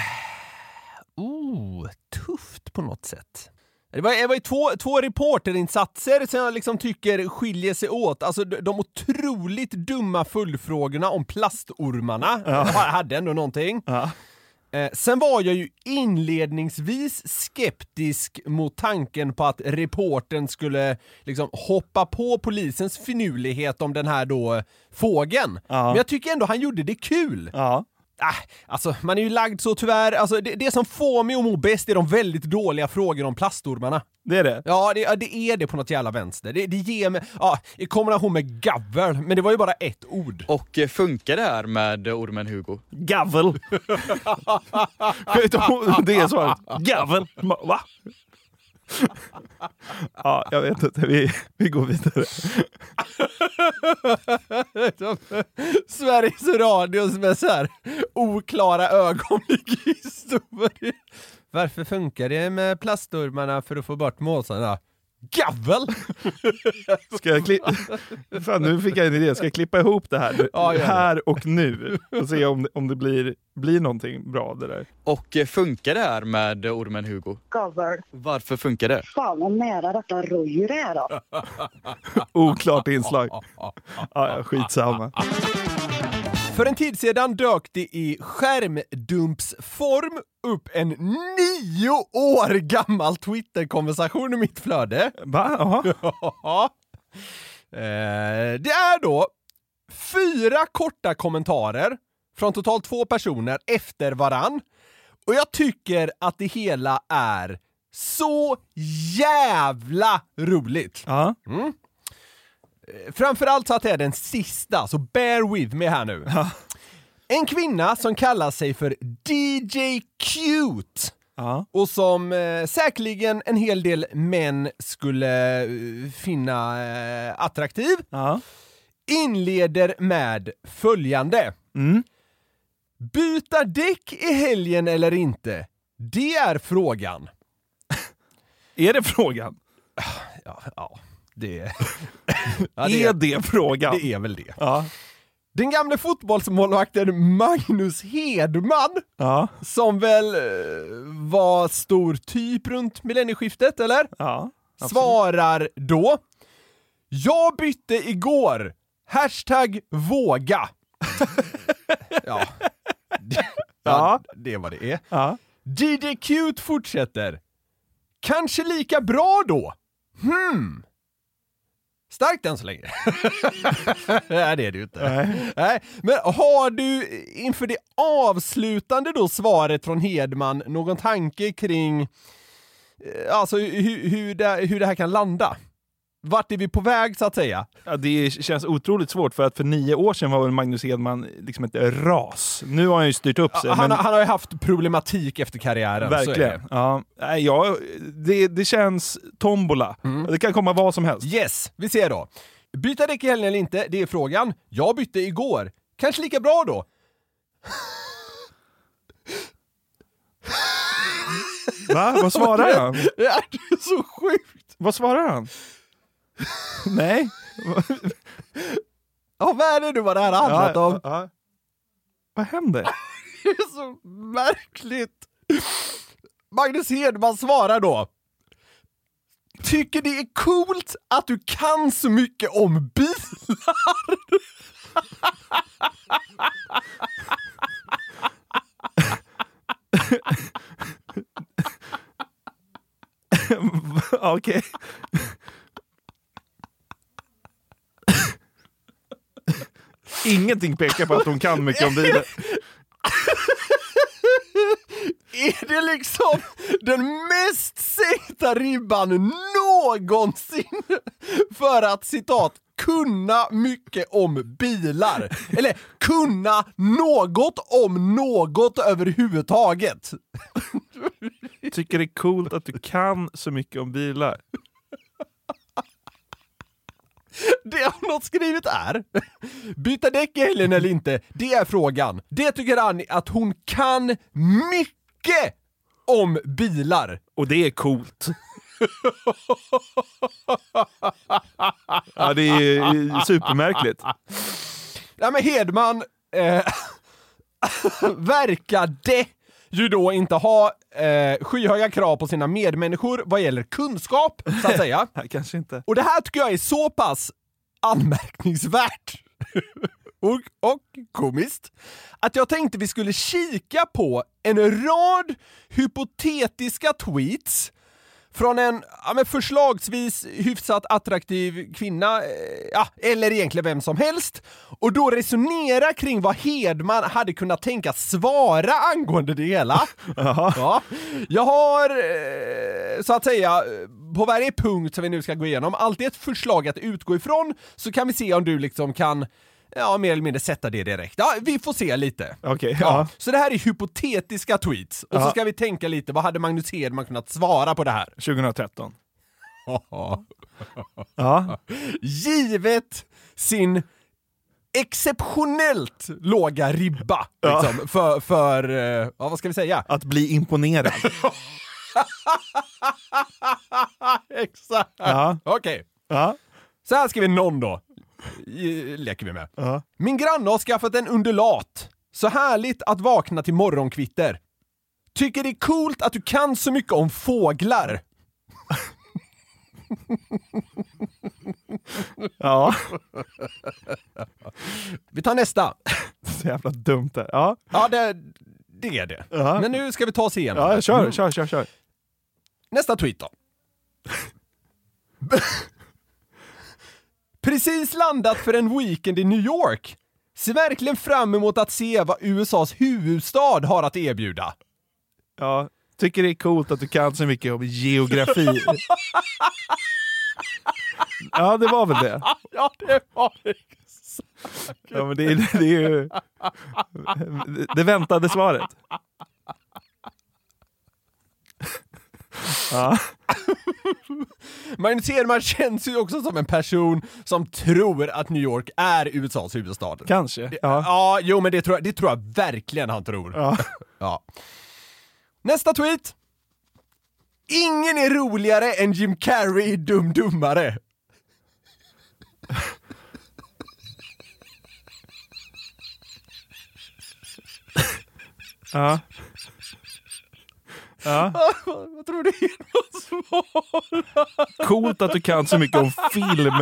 oh, tufft på något sätt. Det var, det var ju två, två reporterinsatser som jag liksom tycker skiljer sig åt. Alltså de, de otroligt dumma följdfrågorna om plastormarna. Ja. Jag hade ändå någonting. Eh, sen var jag ju inledningsvis skeptisk mot tanken på att reportern skulle liksom hoppa på polisens finurlighet om den här då fågeln. Men jag tycker ändå han gjorde det kul. Ah, alltså, man är ju lagd så tyvärr. Alltså, det, det som får mig att må bäst är de väldigt dåliga frågorna om plastormarna. Det är det? Ja, det, ja, det är det på något jävla vänster. Det, det ger mig... Ja, i kombination med gavel, men det var ju bara ett ord. Och eh, funkar det här med ormen Hugo? Gavel! det är svaret. Gavel! Ma- Va? Ja, jag vet inte. Vi, vi går vidare. Sveriges Radios med så här oklara ögonblick i historien. Varför funkar det med plastormarna för att få bort måsarna? Gavel! Ska jag klippa? Fan, nu fick jag en idé. Ska jag klippa ihop det här? nu? Ja, gör det. Här och nu. Och se om, om det blir, blir någonting bra av det där. Och eh, funkar det här med ormen Hugo? Gavel. Varför funkar det? Fan vad nära detta rojor är då. Oklart inslag. Ja, ja, skitsamma. För en tid sedan dök det i skärmdumpsform upp en nio år gammal Twitter-konversation i mitt flöde. Va? Ja. Eh, Det är då fyra korta kommentarer från totalt två personer efter varann. Och jag tycker att det hela är så jävla roligt. Mm. Eh, Framförallt så att det är den sista, så bear with me här nu. En kvinna som kallar sig för DJ Cute och som eh, säkerligen en hel del män skulle eh, finna eh, attraktiv. inleder med följande. Byta däck i helgen eller inte? Det är frågan. Är det frågan? Ja, ja det... Är det frågan? Det är väl det. Den gamle fotbollsmålvakten Magnus Hedman, som väl eh, var stor typ runt millennieskiftet, eller? Svarar då. Jag bytte igår. Hashtag våga. ja. Det, ja, det är vad det är. DJ Cute fortsätter. Kanske lika bra då? Hmm. Starkt än så länge. Nej, det är det ju inte. Nej. Men har du inför det avslutande då svaret från Hedman någon tanke kring eh, alltså, hur, hur, det, hur det här kan landa? Vart är vi på väg så att säga? Ja, det känns otroligt svårt, för att för nio år sedan var väl Magnus Hedman liksom ett ras. Nu har han ju styrt upp sig. Han, men- har- han har ju haft problematik efter karriären. så är Verkligen. det. Ja. Nej, ja, det, det känns tombola. Det kan komma vad som helst. Yes, vi ser då. Byta däck i helgen eller inte, det är frågan. Jag bytte igår. Kanske lika bra då? Va? Vad svarar han? Det är ju så sjukt! Vad svarar han? Nej. Ja, vad är det nu vad det här har handlat Ja, om? ja. Vad händer? Det är så märkligt! Magnus Hedman svarar då. Tycker det är coolt att du kan så mycket om bilar! Ja, Okej. Ingenting pekar på att hon kan mycket om bilen. Är det liksom den mest sänkta ribban någonsin för att citat kunna mycket om bilar? Eller kunna något om något överhuvudtaget? Tycker det är coolt att du kan så mycket om bilar. Det har något skrivet är. Byta däck i helgen eller inte, det är frågan. Det tycker Annie att hon kan mycket om bilar. Och det är coolt. Ja, det är ju supermärkligt. Nej men Hedman eh, verkade ju då inte ha eh, skyhöga krav på sina medmänniskor vad gäller kunskap, så att säga. Kanske inte. Och det här tycker jag är så pass anmärkningsvärt och, och komiskt att jag tänkte vi skulle kika på en rad hypotetiska tweets från en ja, men förslagsvis hyfsat attraktiv kvinna, eh, ja, eller egentligen vem som helst, och då resonera kring vad Hedman hade kunnat tänka svara angående det hela. ja. Jag har, eh, så att säga, eh, på varje punkt som vi nu ska gå igenom, alltid ett förslag att utgå ifrån, så kan vi se om du liksom kan Ja, mer eller mindre sätta det direkt. Ja, vi får se lite. Okej, ja. Så det här är hypotetiska tweets. Och så Ja. ska vi tänka lite, vad hade Magnus Hedman kunnat svara på det här? 2013. ja. Givet sin exceptionellt låga ribba Ja. liksom, för, för eh, ja, vad ska vi säga? Att bli imponerad. Exakt! Ja. Okej. Ja. Så här skriver någon då. I- Leker vi med. Min granne har skaffat en undulat. Så härligt att vakna till morgonkvitter. Tycker det är coolt att du kan så mycket om fåglar. Ja. Vi tar nästa. Så jävla dumt det Ja. Ja, det, det är det. Ja. Men nu ska vi ta oss igenom. Ja, det. kör, Mm. kör, kör, kör. Nästa tweet då. Precis landat för en weekend i New York. Ser verkligen fram emot att se vad USAs huvudstad har att erbjuda. Ja. Tycker det är coolt att du kan så mycket om geografi. Ja, det var väl det. Ja, det var det. Ja, men det, är- det är ju det väntade svaret. Ja. Magnus Hedman känns ju också som en person som tror att New York är USAs huvudstad. Kanske. Ja, ja jo men det tror, jag, det tror jag verkligen han tror. Ja. ja. Nästa tweet! Ingen är roligare än Jim Carrey i Dum Dummare. Ja. Ja. Vad tror du Hedman svarar? Coolt att du kan så mycket om film.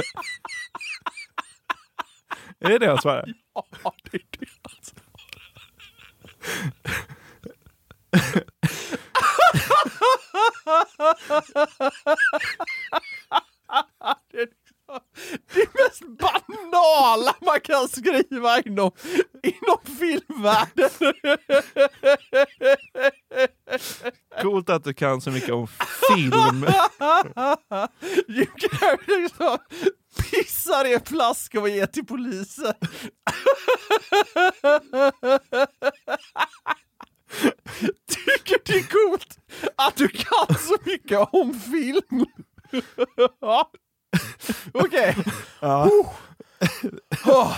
Är det det han svarar? Ja, det är det han svarar. Det är liksom det mest banala man kan skriva inom, inom filmvärlden. Coolt att du kan så mycket om film. Jim Carrey liksom pissar i en flaska och ger till polisen. Tycker det är coolt att du kan så mycket om film. Ja. Okej. Ja. Åh.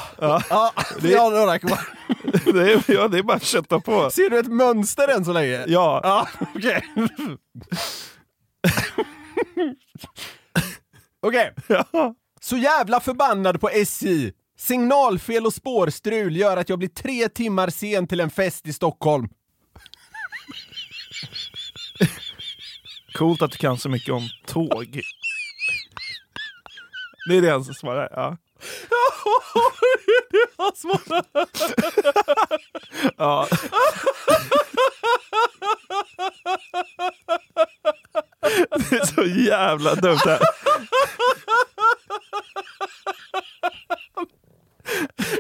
Ja, Det- vi har några kvar. Det är, ja, det är bara att kötta på. Ser du ett mönster än så länge? Ja. Ja, okej. Okej. Så jävla förbannad på SJ. Signalfel och spårstrul gör att jag blir tre timmar sen till en fest i Stockholm. Coolt att du kan så mycket om tåg. Det är det han som svarar. Ja. det är han som har... Ja. Det är så jävla dumt här.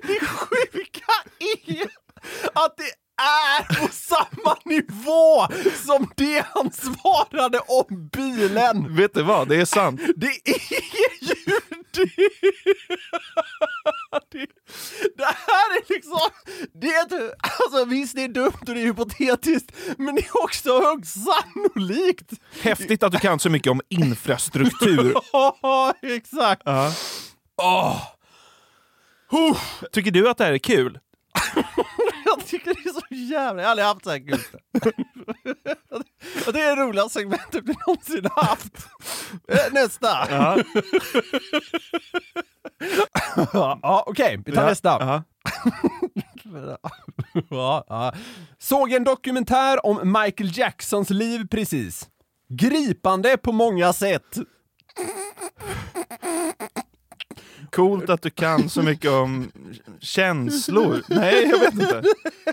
Det sjuka är att det är på samma nivå som det han svarade om bilen. Vet du vad, det är sant. Det är ju det! Det, det här är liksom... Det är, ett- alltså visst, det är dumt och det är hypotetiskt, men det är också högst sannolikt. Häftigt att du kan så mycket om infrastruktur. Ja, exakt. Ja. Tycker du att det här är kul? Jag tycker det är så jävla... Jag har aldrig haft så här kul. Det är det roligaste segmentet vi någonsin har haft. Eh, Nästa! Ja. ja, Okej, vi tar Ja, nästa. ja, ja. Såg en dokumentär om Michael Jacksons liv precis. Gripande på många sätt. Coolt att du kan så mycket om känslor. Nej, jag vet inte.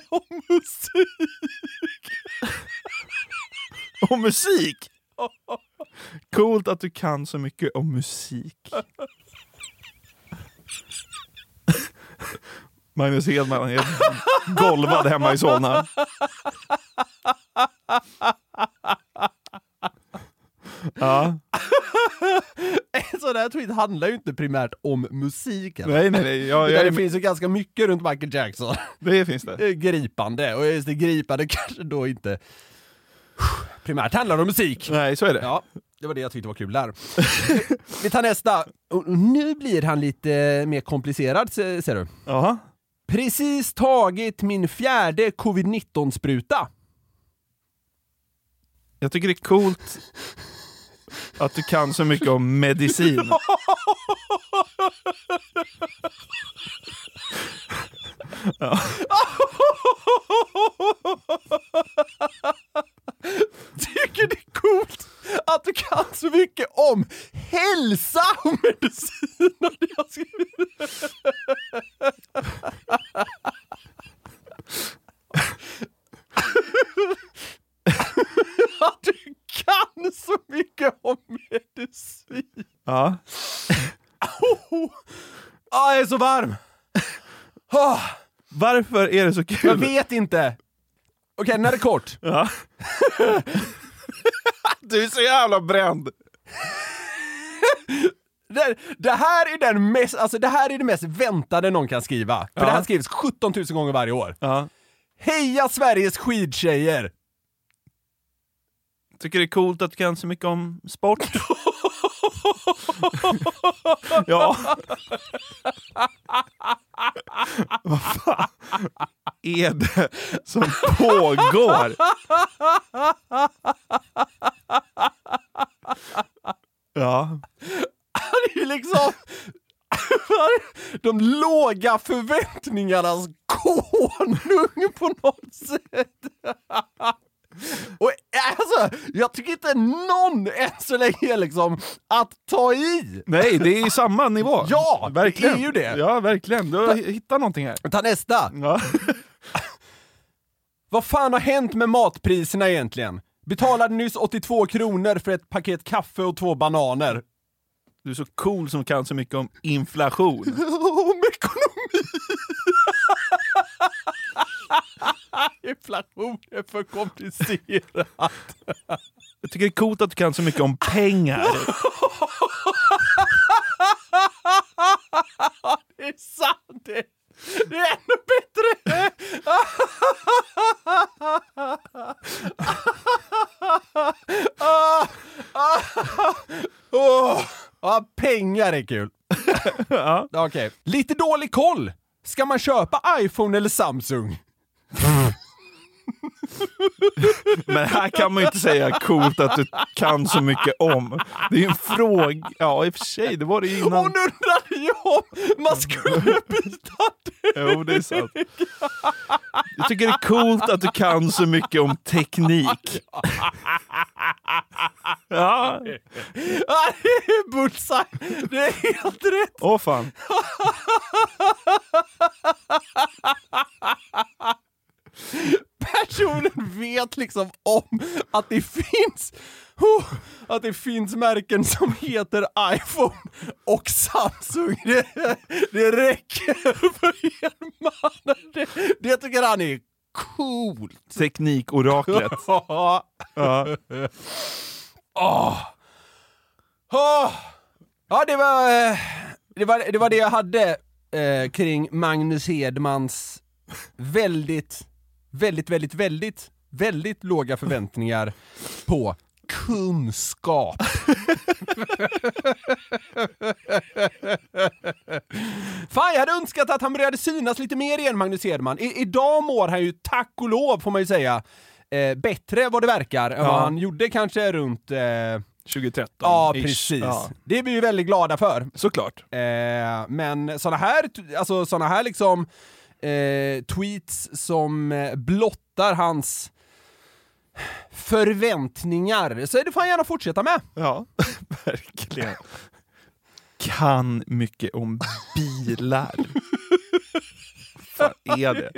Och musik. Om musik! Coolt att du kan så mycket om musik. Magnus Hedman är golvad hemma i Solna. Ja. En sån här tweet handlar ju inte primärt om musiken. Nej, nej, nej. Jag- Utan jag är- det finns ju ganska mycket runt Michael Jackson. Det finns det. Eh, Gripande, och just det gripande kanske då inte primärt handlar om musik. Nej, så är det. Ja, det var det jag tyckte var kul där. Vi tar nästa. Och nu blir han lite mer komplicerad, se- ser du. Jaha. Precis tagit min fjärde covid-19-spruta. Jag tycker det är coolt att du kan så mycket om medicin. Ja. Tycker det är coolt att du kan så mycket om hälsa och medicin. Och det jag skrivit. Att du kan så mycket om medicin. Ja. Oh, jag är så varm! Ah, Varför är det så kul? jag vet inte. Okej, den här är kort. Ja. Du är så jävla bränd! Det, det, här är den mest, alltså det här är det mest väntade någon kan skriva. För det här skrivs 17 000 gånger varje år. Ja. Heja Sveriges skidtjejer! Tycker det är coolt att du kan så mycket om sport. ja. Vad fan är det som pågår? Ja. Han är ju liksom... De låga förväntningarnas konung på något sätt. Och alltså, jag tycker inte någon än så länge är liksom att ta i. Nej, det är i samma nivå. Ja, verkligen. det är ju det. Ja, verkligen. Du har hittat någonting här. Ta nästa. Vad fan har hänt med matpriserna egentligen? Betalade nyss 82 kronor för ett paket kaffe och två bananer. Du är så cool som kan så mycket om inflation. Om ekonomi! Inflation är för komplicerat. Jag tycker det är coolt att du kan så mycket om pengar. det är sant! Det, det är ännu bättre! Åh, Ja, pengar är kul. ja. Okej. Lite dålig koll. Ska man köpa iPhone eller Samsung? Men här kan man ju inte säga coolt att du kan så mycket om. Det är ju en fråga. Ja, i och för sig, det var det ju innan. Hon undrade ju om man skulle byta Jo, det är sant. Jag tycker det är coolt att du kan så mycket om teknik. Ja. Ja, det är bullseye! Det är helt rätt! Åh fan. Personen vet liksom om att det finns oh, att det finns märken som heter iPhone och Samsung. Det, det räcker för er man. Det, det tycker han är coolt. Teknikoraklet. Ja. Åh. Åh. Ja, det var, eh, det var, det var det jag hade eh, kring Magnus Hedmans väldigt, väldigt, väldigt, väldigt, väldigt låga förväntningar på kunskap. Fan, jag hade önskat att han började synas lite mer igen, Magnus Hedman. I, idag mår han ju, tack och lov, får man ju säga, eh, bättre vad det verkar än vad Ja. han gjorde kanske runt... Eh, 2013. Ja, ish. precis. Ja. Det är vi ju väldigt glada för. Såklart. Eh, men såna här, alltså, såna här liksom, eh, tweets som eh, blottar hans förväntningar, så är det får han gärna fortsätta med. Ja, verkligen. Kan mycket om bilar. Vad är det?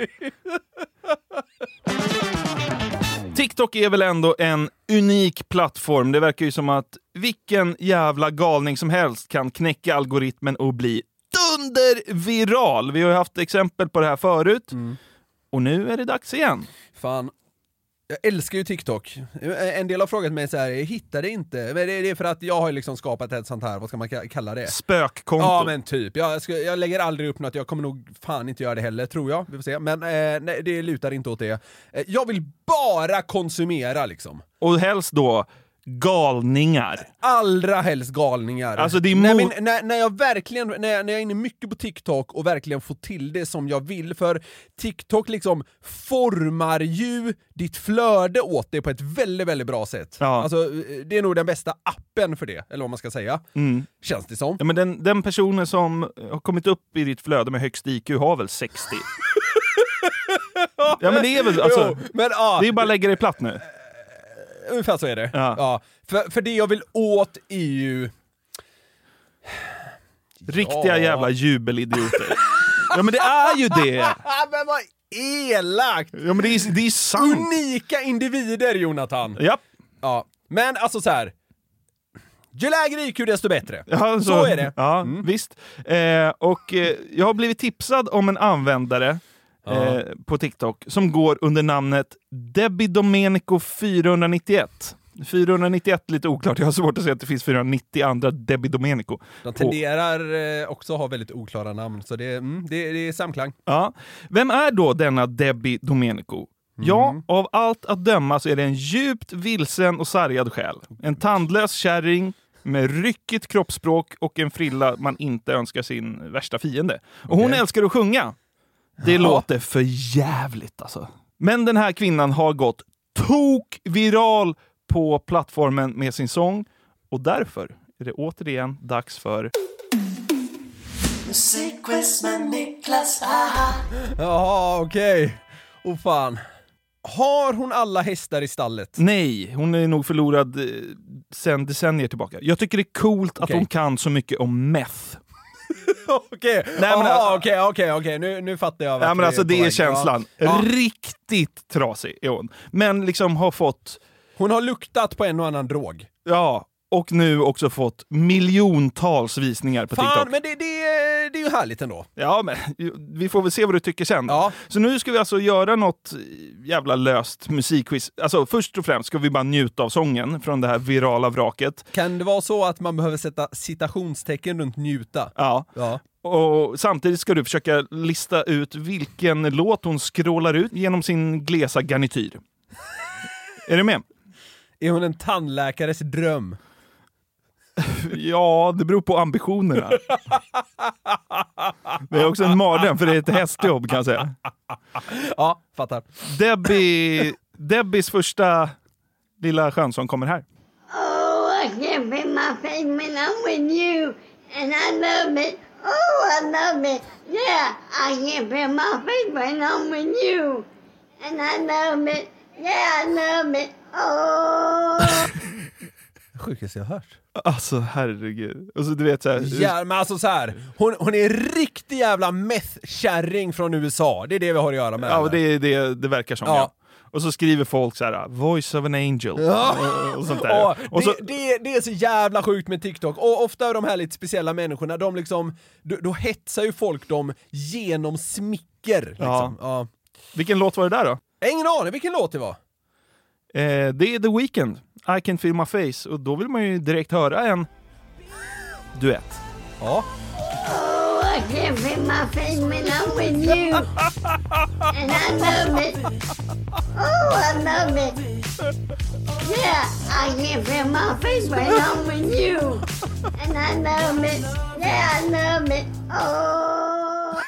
TikTok är väl ändå en unik plattform. Det verkar ju som att vilken jävla galning som helst kan knäcka algoritmen och bli dunderviral. Vi har ju haft exempel på det här förut. Och nu är det dags igen. Fan. Jag älskar ju TikTok. Eh, En del har frågat mig så här, jag hittar det inte. Men det det är för att jag har ju liksom skapat ett sånt här, vad ska man ka- kalla det? Spökkonto. Ja men typ. Jag, ska, jag lägger aldrig upp något, jag kommer nog fan inte göra det heller tror jag. Vi får se. Men eh, nej, det lutar inte åt det. Eh, jag vill bara konsumera liksom. Och helst då galningar. Allra helst galningar. Alltså, det är när, mo- min, när, när jag verkligen, när jag, när jag är inne mycket på TikTok och verkligen får till det som jag vill, för TikTok liksom formar ju ditt flöde åt dig på ett väldigt, väldigt bra sätt. Ja. Alltså, eh, det är nog den bästa appen för det, eller vad man ska säga. Mm. Känns det som. Ja, men den, den personen som har kommit upp i ditt flöde med högst IQ har väl 60? ja men det är väl alltså, Jo, men, ah. ja. det är bara att lägga dig platt nu. Ungefär så är det. Ja. Ja. För, för det jag vill åt är ju... Riktiga Ja. jävla jubelidioter. ja men det är ju det! men vad elakt! Ja men det är, det är sant! Unika individer, Jonathan! Japp. Ja. Men alltså så här. Ju lägre IQ desto bättre. Ja, så, är det. Mm. Ja, visst. Eh, och eh, jag har blivit tipsad om en användare eh, Ja. på TikTok som går under namnet Debbie Domenico 491. 491 lite oklart, jag har svårt att se att det finns 490 andra Debbie Domenico. De på- tenderar eh, också att ha väldigt oklara namn, så det, mm, det, det är samklang. Ja. Vem är då denna Debbie Domenico? Ja, av allt att döma så är det en djupt vilsen och sargad själ. En tandlös kärring med ryckigt kroppsspråk och en frilla man inte önskar sin värsta fiende. Och hon Okej. älskar att sjunga. Det Ja. låter för jävligt alltså. Men den här kvinnan har gått tok-viral på plattformen med sin sång och därför är det återigen dags för Musikquiz med Niklas, aha. Jaha, okej. Åh fan. Har hon alla hästar i stallet? Nej, hon är nog förlorad eh, sen decennier tillbaka. Jag tycker det är coolt att Okej. hon kan så mycket om meth. Okej, Nej, men Jaha, alltså- okej, okej, okej, nu, nu fattar jag. vart Ja, vi men alltså, på det är väg. känslan. Ja. Ja. Riktigt trasig är hon. Men liksom har fått... Hon har luktat på en och annan drog. Ja, och nu också fått miljontals visningar på Fan, TikTok. men det, det, det är ju härligt ändå. Ja, men vi får väl se vad du tycker sen. Så nu ska vi alltså göra något jävla löst musikquiz. Alltså först och främst ska vi bara njuta av sången från det här virala vraket. Kan det vara så att man behöver sätta citationstecken runt njuta? Ja. Ja. Och samtidigt ska du försöka lista ut vilken låt hon scrollar ut genom sin glesa garnityr. är du med? Är hon en tandläkares dröm? Ja, det beror på ambitionerna. Det är också en mardröm, för det är ett hästjobb kan jag säga. Ja, fattar. Debbie, Debbies första lilla skönsång kommer här. Oh, I can't put my faith when I'm with you. And I love it. Oh, I love it. Yeah, I can't put my faith when I'm with you. And I love it. Yeah, I love it. Oh. Sjukaste jag hört. Alltså herregud. Alltså, du vet så här, Ja, men alltså så här. Hon, hon är riktig jävla meth-kärring från USA. Det är det vi har att göra med. Ja, det, är- det, det verkar som Ja. ja. Och så skriver folk så här, “Voice of an angel” och, och sånt där. Ja, och så, det, det, det är så jävla sjukt med TikTok, och ofta är de här lite speciella människorna, de liksom, då, då hetsar ju folk dem genom smicker. Liksom. Ja. Vilken låt var det där då? Jag har Ingen aning vilken låt det var. Eh, det är The Weeknd, I can feel my face, och då vill man ju direkt höra en duett. Ja. Oh, I can't put my faith when I'm with you. And I love it. Oh, I love it. Yeah, I can't put my faith when I'm with you. And I love it. Yeah, I love it. Oh.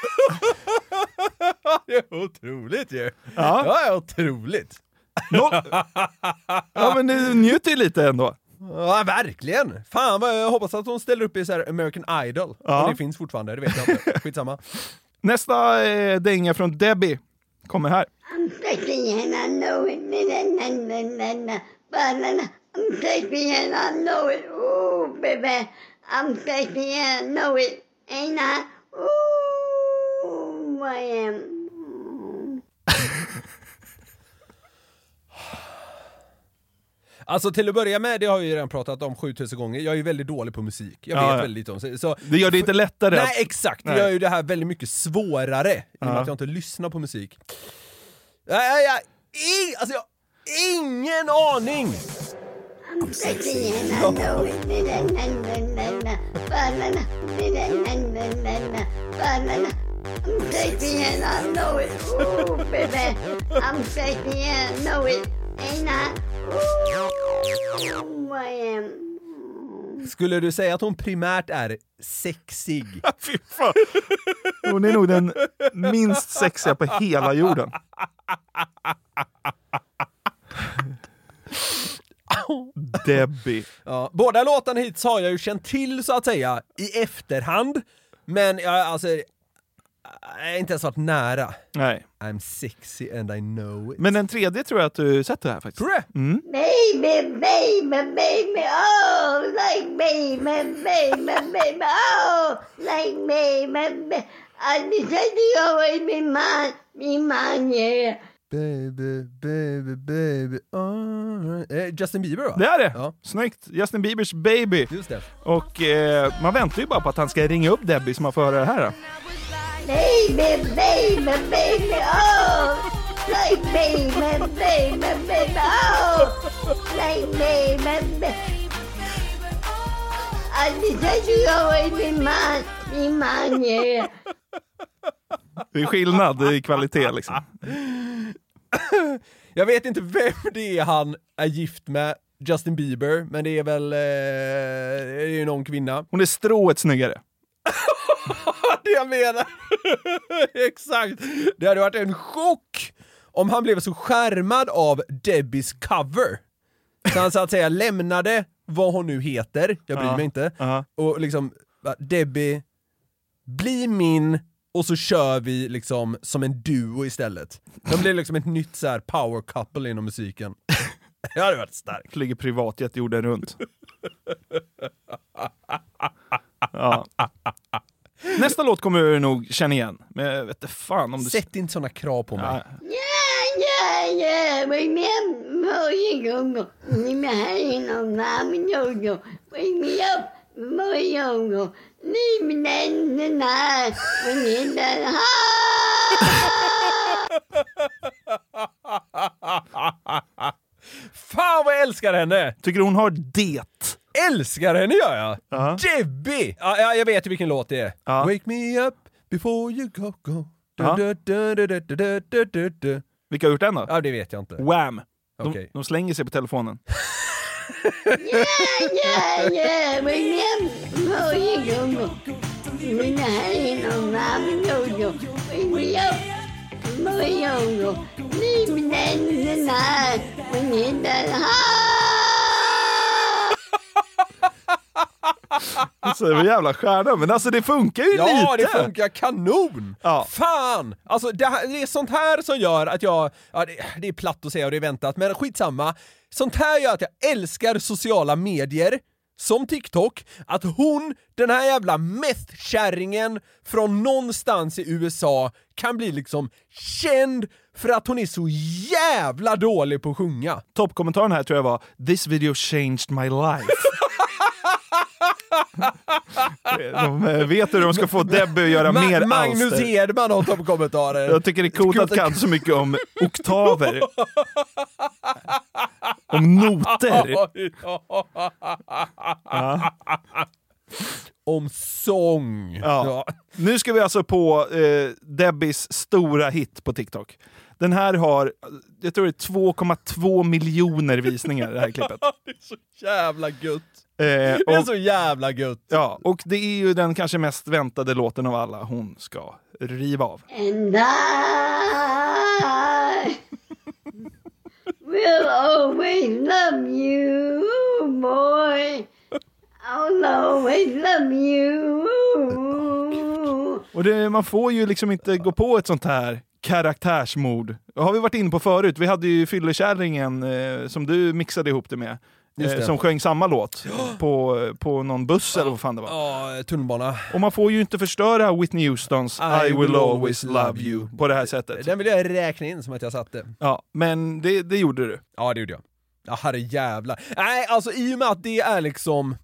det är otroligt ju. Ja. Det är otroligt. Noll. Ja men du njuter ju lite ändå. Ja, verkligen! Fan vad jag hoppas att hon ställer upp i så här American Idol. Ja. Om det finns fortfarande, det vet jag inte. Skitsamma. Nästa eh, dänga från Debbie kommer här. I'm sexy and I know it. Na, na, na, na, na, ba, na, na. I'm sexy and I know it. Ooh, baby. I'm sexy and I know it. Ain't I? Ooh, I am. Alltså till att börja med, det har vi ju redan pratat om 7000 gånger, jag är ju väldigt dålig på musik. Jag Ja, vet ja. väldigt lite om så- så, Det gör det inte lättare Nej att- exakt, Nej. det gör ju det här väldigt mycket svårare i och med Ja. att jag inte lyssnar på musik. Nej, nej, nej. I, alltså jag ingen aning! I'm sexy and I know it. Na, na, na, na, na, ba, na, na. Na, na, na, na, na, ba, na, na. I'm sexy and I know it. Ooh, baby. I'm sexy and I know it. Ain't I? Ooh, I am. Skulle du säga att hon primärt är sexig? Fy fan. Hon är nog den minst sexiga på hela jorden. Debbie. Ja, båda låtarna hittills har jag ju känt till så att säga i efterhand, men jag alltså, jag har inte ens varit nära. Nej. I'm sexy and I know it. Men den tredje tror jag att du sett det här faktiskt. Tror du mm. Baby, baby, baby, oh, like baby, baby, baby, oh, like baby, baby. I decided to always be mine, be mine, yeah. Baby, baby, baby, alright. Eh, Justin Bieber va? Det är det! Snyggt! Justin Biebers baby. Just det. Och eh, man väntar ju bara på att han ska ringa upp Debbie så man får höra det här. Då. Baby, baby, baby, oh, like baby, baby, baby, oh, like baby, baby. I decided to always be mine, be mine, yeah. Det är skillnad i kvalitet liksom. Jag vet inte vem det är han är gift med, Justin Bieber, men det är väl... Eh, det är ju någon kvinna. Hon är strået snyggare. det jag menar! Exakt! Det hade varit en chock om han blev så skärmad av Debbies cover. Så han så att säga lämnade vad hon nu heter, jag bryr Ja, mig inte, och liksom va, Debbie, bli min och så kör vi liksom som en duo istället. De blir liksom ett nytt så här power couple inom musiken. Det hade varit starkt. Flyger privatjet jorden runt. Ja. Nästa låt kommer du nog känna igen, men jag vet inte fan om du... Sätt inte såna krav på mig. Yeah, yeah, remember you go, you hang on mom yo yo, wake me up, mo yo yo, leave me then the night, we need that Fan vad jag älskar henne! Tycker hon har det? Älskar henne gör jag! Debbie! Ja, ja, jag vet ju vilken låt det är. Wake me up before you go go. Du, Ja. du, du, du, du, du, du, du, du. Vilka har gjort den då? Ja, det vet jag inte. Wham! De, Okej. de slänger sig på telefonen. Yeah, yeah, remember you go go, you hang on mom yo yo, wake me up, mo yo yo, leave me then the night, we need that Så det var jävla stjärna, men alltså det funkar ju lite! Ja, det funkar kanon! Fan! Alltså det, här, det är sånt här som gör att jag... Ja, det, det är platt att säga och det är väntat, men skitsamma. Sånt här gör att jag älskar sociala medier, som TikTok, att hon, den här jävla meth-kärringen från någonstans i USA kan bli liksom känd för att hon är så jävla dålig på att sjunga. Toppkommentaren här tror jag var “This video changed my life”. De eh, vet hur de ska få Debbie att göra Ma- mer Magnus alster. Hedman har toppkommentarer. Jag tycker det är coolt att kan så mycket om oktaver. Om noter. Ja. Om sång. Ja. Nu ska vi alltså på eh, Debbies stora hit på TikTok. Den här har, jag tror det är 2,2 miljoner visningar det här klippet. det är så jävla gött. Eh, Det är och- så jävla gött. Ja, och det är ju den kanske mest väntade låten av alla hon ska riva av. And I will always love you, boy. I'll always love you. Och det, man får ju liksom inte gå på ett sånt här karaktärsmord. Det har vi varit inne på förut. Vi hade ju Fyllekärringen eh, som du mixade ihop det med. Just Eh, det. som sjöng samma låt på, på någon buss eller vad fan det var. Ja, eh, tunnelbana. Och man får ju inte förstöra Whitney Houstons I, will always love you på det här sättet. Den vill jag räkna in som att jag satte. Ja, men det, det gjorde du. Ja, det gjorde jag. Ja, herrejävlar. Nej, alltså i och med att det är liksom...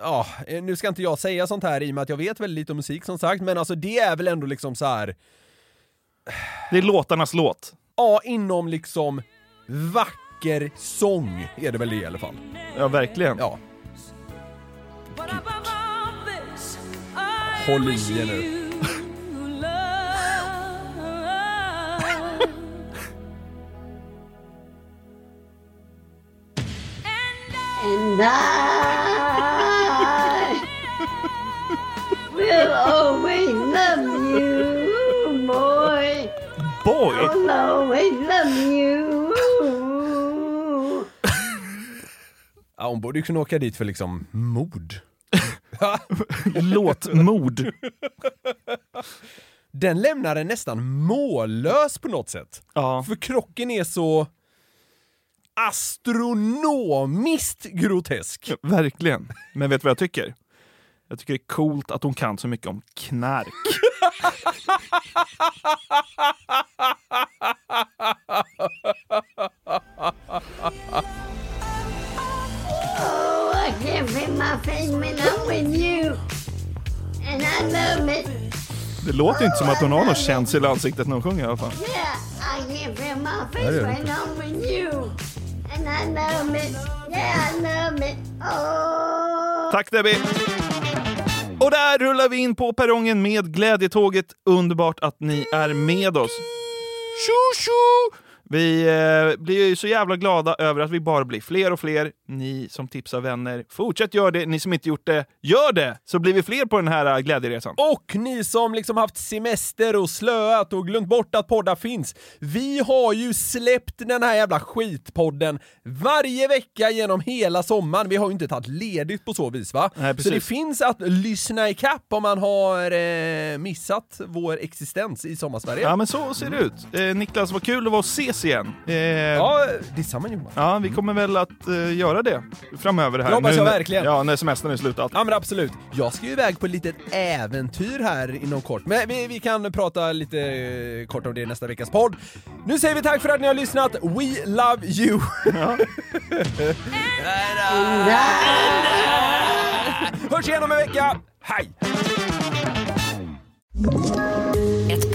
Ja, eh, nu ska inte jag säga sånt här i och med att jag vet väldigt lite om musik som sagt, men alltså det är väl ändå liksom så här... Det är låtarnas låt. Ja, inom liksom vacker sång är det väl det i alla fall. Ja, verkligen. Ja. Håll i er nu. And I will always love you, boy. Boy! I'll always love you. Ja, hon borde ju kunna åka dit för liksom mord. Låtmord. Den lämnar en nästan mållös på något sätt. För krocken är så astronomiskt grotesk. Verkligen. Men vet du vad jag tycker? Jag tycker det är coolt att hon kan så mycket om knark. Oh, I can't fit my face when I'm with you. And I love it. Det låter inte som att hon har någon känsel i ansiktet när hon sjunger i alla fall. Yeah, I can't fit my Där face är den. when I'm with you. And I love it. Yeah, I love it. Oh. Tack Debbie! Och där rullar vi in på perrongen med glädjetåget. Underbart att ni är med oss. Tjo tjo! Vi eh, blir ju så jävla glada över att vi bara blir fler och fler. Ni som tipsar vänner, fortsätt gör det. Ni som inte gjort det, gör det! Så blir vi fler på den här eh, glädjeresan. Och ni som liksom haft semester och slöat och glömt bort att poddar finns. Vi har ju släppt den här jävla skitpodden varje vecka genom hela sommaren. Vi har ju inte tagit ledigt på så vis va? Nej, så precis. det finns att lyssna i kapp om man har eh, missat vår existens i Sommarsverige. Ja, men så ser det ut. Eh, Niklas, vad kul det var att ses igen. Eh, ja, detsamma Jonas. Ja, vi kommer väl att eh, göra det framöver här. Det hoppas Nu jag när- verkligen. Ja, när semestern är slut och allt. Ja men absolut. Jag ska ju iväg på ett litet äventyr här inom kort. Men vi, vi kan prata lite eh, kort om det i nästa veckas podd. Nu säger vi tack för att ni har lyssnat. We love you! Hörs igen om en vecka. Hej! Ett